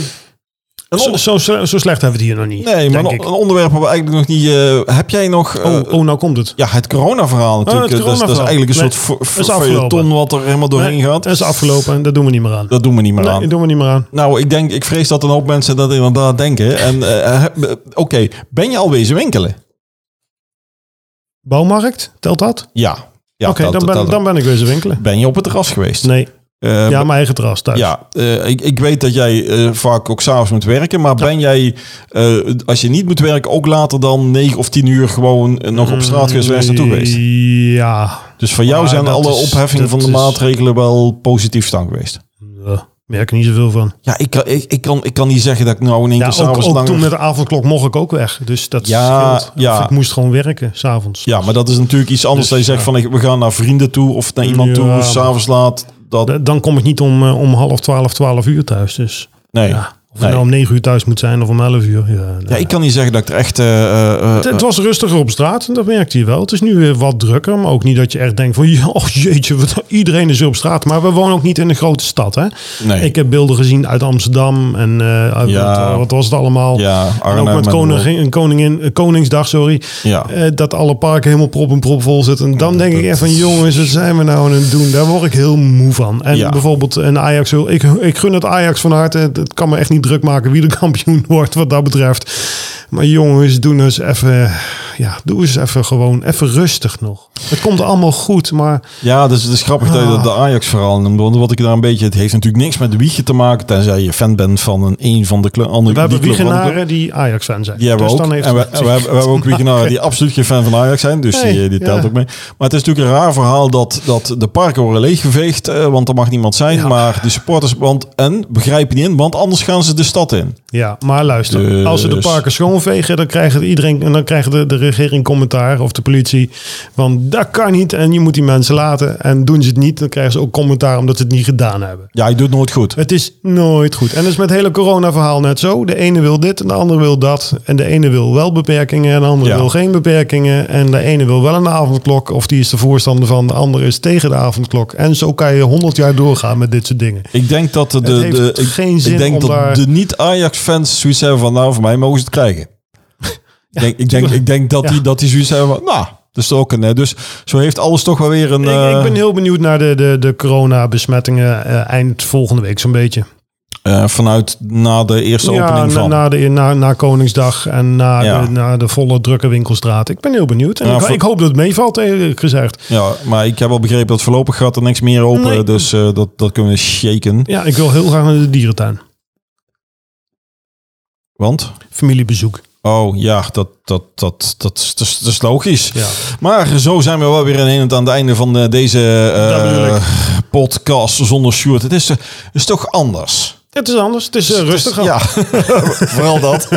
[SPEAKER 2] een
[SPEAKER 3] Zo,
[SPEAKER 2] onder-
[SPEAKER 3] zo, zo slecht hebben we het hier nog niet.
[SPEAKER 2] nee, maar
[SPEAKER 3] denk
[SPEAKER 2] een,
[SPEAKER 3] ik.
[SPEAKER 2] een onderwerp waar we eigenlijk nog niet... eh, heb jij nog... eh,
[SPEAKER 3] Oh, oh, nou komt het.
[SPEAKER 2] ja, het coronaverhaal natuurlijk.
[SPEAKER 3] het
[SPEAKER 2] Dat is- dat, is,
[SPEAKER 3] coronaverhaal.
[SPEAKER 2] eigenlijk
[SPEAKER 3] Nee,
[SPEAKER 2] een soort
[SPEAKER 3] is
[SPEAKER 2] soort
[SPEAKER 3] afgelopen.
[SPEAKER 2] feuilleton wat er helemaal doorheen
[SPEAKER 3] Nee,
[SPEAKER 2] gaat.
[SPEAKER 3] Dat is afgelopen. Dat doen we niet meer aan.
[SPEAKER 2] Dat doen we niet meer
[SPEAKER 3] Nee,
[SPEAKER 2] aan.
[SPEAKER 3] dat doen we niet meer aan.
[SPEAKER 2] Nou, ik denk, ik vrees dat een hoop mensen dat inderdaad denken. En eh, heb- eh, oké, ben je al wezen winkelen?
[SPEAKER 3] Bouwmarkt, telt dat?
[SPEAKER 2] Ja. ja
[SPEAKER 3] Oké,
[SPEAKER 2] dat-
[SPEAKER 3] dan, ben,
[SPEAKER 2] dat-
[SPEAKER 3] dan ben ik weer ze winkelen.
[SPEAKER 2] ben je op het terras geweest.
[SPEAKER 3] Nee,
[SPEAKER 2] Eh,
[SPEAKER 3] ja, mijn eigen terras thuis.
[SPEAKER 2] Ja, eh, ik, ik weet dat jij eh, vaak ook s'avonds moet werken. Maar ben jij, eh, als je niet moet werken, ook later dan 9 of 10 uur gewoon eh, nog op straat geweest waar is naartoe geweest?
[SPEAKER 3] Mm, Ja.
[SPEAKER 2] Dus voor jou
[SPEAKER 3] Maar
[SPEAKER 2] zijn
[SPEAKER 3] Ah, dat
[SPEAKER 2] alle
[SPEAKER 3] is-
[SPEAKER 2] opheffingen van de
[SPEAKER 3] dat is-
[SPEAKER 2] maatregelen wel positief staan geweest.
[SPEAKER 3] Eh, merk er niet zoveel van.
[SPEAKER 2] Ja, ik, kan- ik, ik, kan, ik kan niet zeggen dat ik nou in één
[SPEAKER 3] Ja,
[SPEAKER 2] keer
[SPEAKER 3] ook,
[SPEAKER 2] s'avonds
[SPEAKER 3] ook
[SPEAKER 2] langer...
[SPEAKER 3] toen met de avondklok mocht ik ook weg. Dus dat
[SPEAKER 2] Ja,
[SPEAKER 3] scheelt.
[SPEAKER 2] ja.
[SPEAKER 3] Of ik moest gewoon werken, s'avonds.
[SPEAKER 2] Ja, maar dat is natuurlijk iets anders
[SPEAKER 3] Dus,
[SPEAKER 2] dan je zegt
[SPEAKER 3] ja.
[SPEAKER 2] van ik- we gaan naar vrienden toe of naar iemand
[SPEAKER 3] Ja,
[SPEAKER 2] toe,
[SPEAKER 3] maar-
[SPEAKER 2] s'avonds laat. Dat,
[SPEAKER 3] Da- Dan kom ik niet om, eh, om half twaalf, twaalf uur thuis. Dus
[SPEAKER 2] nee.
[SPEAKER 3] ja, of
[SPEAKER 2] nee.
[SPEAKER 3] ik nou om negen uur thuis moet zijn of om elf uur. Ja, nou,
[SPEAKER 2] Ja, ik kan niet zeggen dat ik er echt... eh, eh,
[SPEAKER 3] Het, het was rustiger op straat, en dat merkte je wel. Het is nu weer wat drukker, maar ook niet dat je echt denkt van... ja, Oh jeetje, wat, iedereen is weer op straat. Maar we wonen ook niet in een grote stad, hè?
[SPEAKER 2] nee.
[SPEAKER 3] Ik heb beelden gezien uit Amsterdam en eh, uit-
[SPEAKER 2] Ja.
[SPEAKER 3] wat, wat was het allemaal.
[SPEAKER 2] ja,
[SPEAKER 3] en
[SPEAKER 2] Arnhem
[SPEAKER 3] ook met
[SPEAKER 2] en-
[SPEAKER 3] koningin, koningin, eh, Koningsdag, sorry.
[SPEAKER 2] Ja.
[SPEAKER 3] Eh, dat alle parken helemaal prop en prop vol zitten. En dan denk ik echt van, jongens, wat zijn we nou aan het doen? Daar word ik heel moe van. En
[SPEAKER 2] Ja.
[SPEAKER 3] bijvoorbeeld een Ajax, wil- ik, ik gun het Ajax van harte. Het- Het kan me echt niet druk maken wie de kampioen wordt wat dat betreft. Maar jongens, doe nou eens even, ja, doe eens even gewoon, even rustig nog. Het komt allemaal goed, maar
[SPEAKER 2] Ja, dus het is grappig dat je
[SPEAKER 3] Ah.
[SPEAKER 2] dat de Ajax verhaal noemt. Want wat ik daar een beetje... Het heeft natuurlijk niks met de wiegje te maken. Tenzij je fan bent van een, een van de kle- andere
[SPEAKER 3] we hebben
[SPEAKER 2] die club van de club.
[SPEAKER 3] wiegenaren die Ajax-fan zijn.
[SPEAKER 2] Die hebben
[SPEAKER 3] dus
[SPEAKER 2] we ook.
[SPEAKER 3] dan heeft
[SPEAKER 2] en we,
[SPEAKER 3] het
[SPEAKER 2] en we hebben, we hebben ook wiegenaren die absoluut geen fan van Ajax zijn. Dus die,
[SPEAKER 3] Nee,
[SPEAKER 2] die telt
[SPEAKER 3] ja.
[SPEAKER 2] ook mee. Maar het is natuurlijk een raar verhaal dat, dat de parken worden leeggeveegd. eh, want er mag niemand zijn.
[SPEAKER 3] Ja.
[SPEAKER 2] Maar de supporters... Want, en begrijpen niet in. Want anders gaan ze de stad in.
[SPEAKER 3] Ja, maar luister,
[SPEAKER 2] Dus-
[SPEAKER 3] als ze de parken schoonvegen, dan krijgt iedereen en dan krijgt de, de regering commentaar of de politie. Want dat kan niet en je moet die mensen laten. En doen ze het niet, dan krijgen ze ook commentaar omdat ze het niet gedaan hebben.
[SPEAKER 2] Ja, je doet nooit goed.
[SPEAKER 3] Het is nooit goed. En dat is met het hele corona-verhaal net zo. De ene wil dit en de andere wil dat. En de ene wil wel beperkingen en de andere
[SPEAKER 2] Ja.
[SPEAKER 3] wil geen beperkingen. En de ene wil wel een avondklok of die is de voorstander van. De andere is tegen de avondklok. En zo kan je honderd jaar doorgaan met dit soort dingen.
[SPEAKER 2] Ik denk dat de, de,
[SPEAKER 3] heeft
[SPEAKER 2] ik,
[SPEAKER 3] geen
[SPEAKER 2] ik
[SPEAKER 3] zin
[SPEAKER 2] denk
[SPEAKER 3] om
[SPEAKER 2] dat
[SPEAKER 3] daar-
[SPEAKER 2] de niet-Ajax-fans zoiets hebben van, nou, voor mij mogen ze het krijgen. ik, denk, ik, denk, ik denk dat,
[SPEAKER 3] Ja.
[SPEAKER 2] die, dat die zoiets hebben van, nou, dus ook een, hè. Dus zo heeft alles toch wel weer een...
[SPEAKER 3] Ik,
[SPEAKER 2] eh,
[SPEAKER 3] ik ben heel benieuwd naar de, de, de corona-besmettingen eh, eind volgende week zo'n beetje.
[SPEAKER 2] eh, vanuit na de eerste
[SPEAKER 3] ja,
[SPEAKER 2] opening
[SPEAKER 3] na,
[SPEAKER 2] van.
[SPEAKER 3] na, de, na, na Koningsdag en na,
[SPEAKER 2] Ja.
[SPEAKER 3] de, na de volle drukke winkelstraat. Ik ben heel benieuwd. En
[SPEAKER 2] Ja,
[SPEAKER 3] ik,
[SPEAKER 2] voor-
[SPEAKER 3] ik hoop dat het meevalt, eerlijk gezegd.
[SPEAKER 2] ja, maar ik heb al begrepen dat voorlopig gaat er niks meer open.
[SPEAKER 3] Nee.
[SPEAKER 2] Dus eh, dat, dat kunnen we shaken.
[SPEAKER 3] Ja, ik wil heel graag naar de dierentuin.
[SPEAKER 2] Want?
[SPEAKER 3] Familiebezoek.
[SPEAKER 2] Oh ja, dat, dat, dat, dat, is- dat, is- dat is logisch.
[SPEAKER 3] Ja.
[SPEAKER 2] Maar zo zijn we wel weer in het aan het einde van eh, deze eh,
[SPEAKER 3] Dat bedoel ik.
[SPEAKER 2] podcast zonder Sjoerd. Het is, eh, is toch anders.
[SPEAKER 3] Het is anders. Het is eh, rustiger.
[SPEAKER 2] Ja, vooral dat.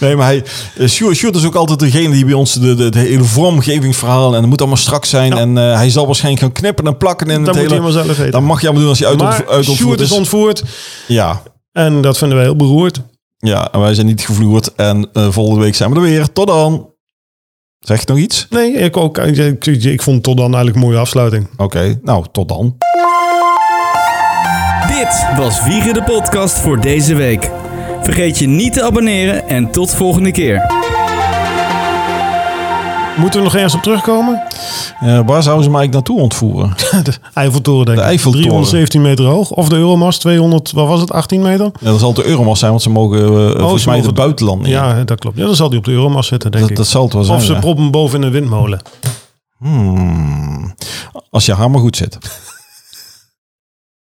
[SPEAKER 2] nee, maar hij, eh, Sjoerd, Sjoerd is ook altijd degene die bij ons de, de, de hele vormgeving verhaal en het moet allemaal strak zijn. En eh, hij zal waarschijnlijk gaan knippen en plakken in het
[SPEAKER 3] dat moet je
[SPEAKER 2] hele...
[SPEAKER 3] helemaal zelf weten.
[SPEAKER 2] Dan mag je allemaal doen als je uit,
[SPEAKER 3] maar
[SPEAKER 2] uit
[SPEAKER 3] Sjoerd is
[SPEAKER 2] is.
[SPEAKER 3] ontvoerd.
[SPEAKER 2] Ja,
[SPEAKER 3] En dat vinden wij heel beroerd.
[SPEAKER 2] ja, en wij zijn niet gevloerd. En eh, volgende week zijn we er weer. Tot dan. Zegt nog iets?
[SPEAKER 3] Nee, ik, ook, ik, ik- ik vond het tot dan eigenlijk een mooie afsluiting.
[SPEAKER 2] Oké, nou, tot dan.
[SPEAKER 1] Dit was Wiegen de Podcast voor deze week. Vergeet je niet te abonneren en tot volgende keer.
[SPEAKER 3] Moeten we nog ergens op terugkomen?
[SPEAKER 2] Eh, waar zouden ze mij eigenlijk naartoe ontvoeren?
[SPEAKER 3] De Eiffeltoren, denk ik.
[SPEAKER 2] De Eiffeltoren.
[SPEAKER 3] 317 meter hoog. Of de Euromast, 200, wat was het, 18 meter?
[SPEAKER 2] Ja, dat zal de Euromast zijn, want ze mogen eh, volgens mij
[SPEAKER 3] Oh, mogen-
[SPEAKER 2] het buitenland in.
[SPEAKER 3] Ja, dat klopt. Ja, dan zal die op de Euromast zitten, denk
[SPEAKER 2] dat,
[SPEAKER 3] ik.
[SPEAKER 2] dat zal het wel zijn.
[SPEAKER 3] of ze
[SPEAKER 2] ja.
[SPEAKER 3] proppen boven in een windmolen.
[SPEAKER 2] Hmm. Als je hamer goed zit.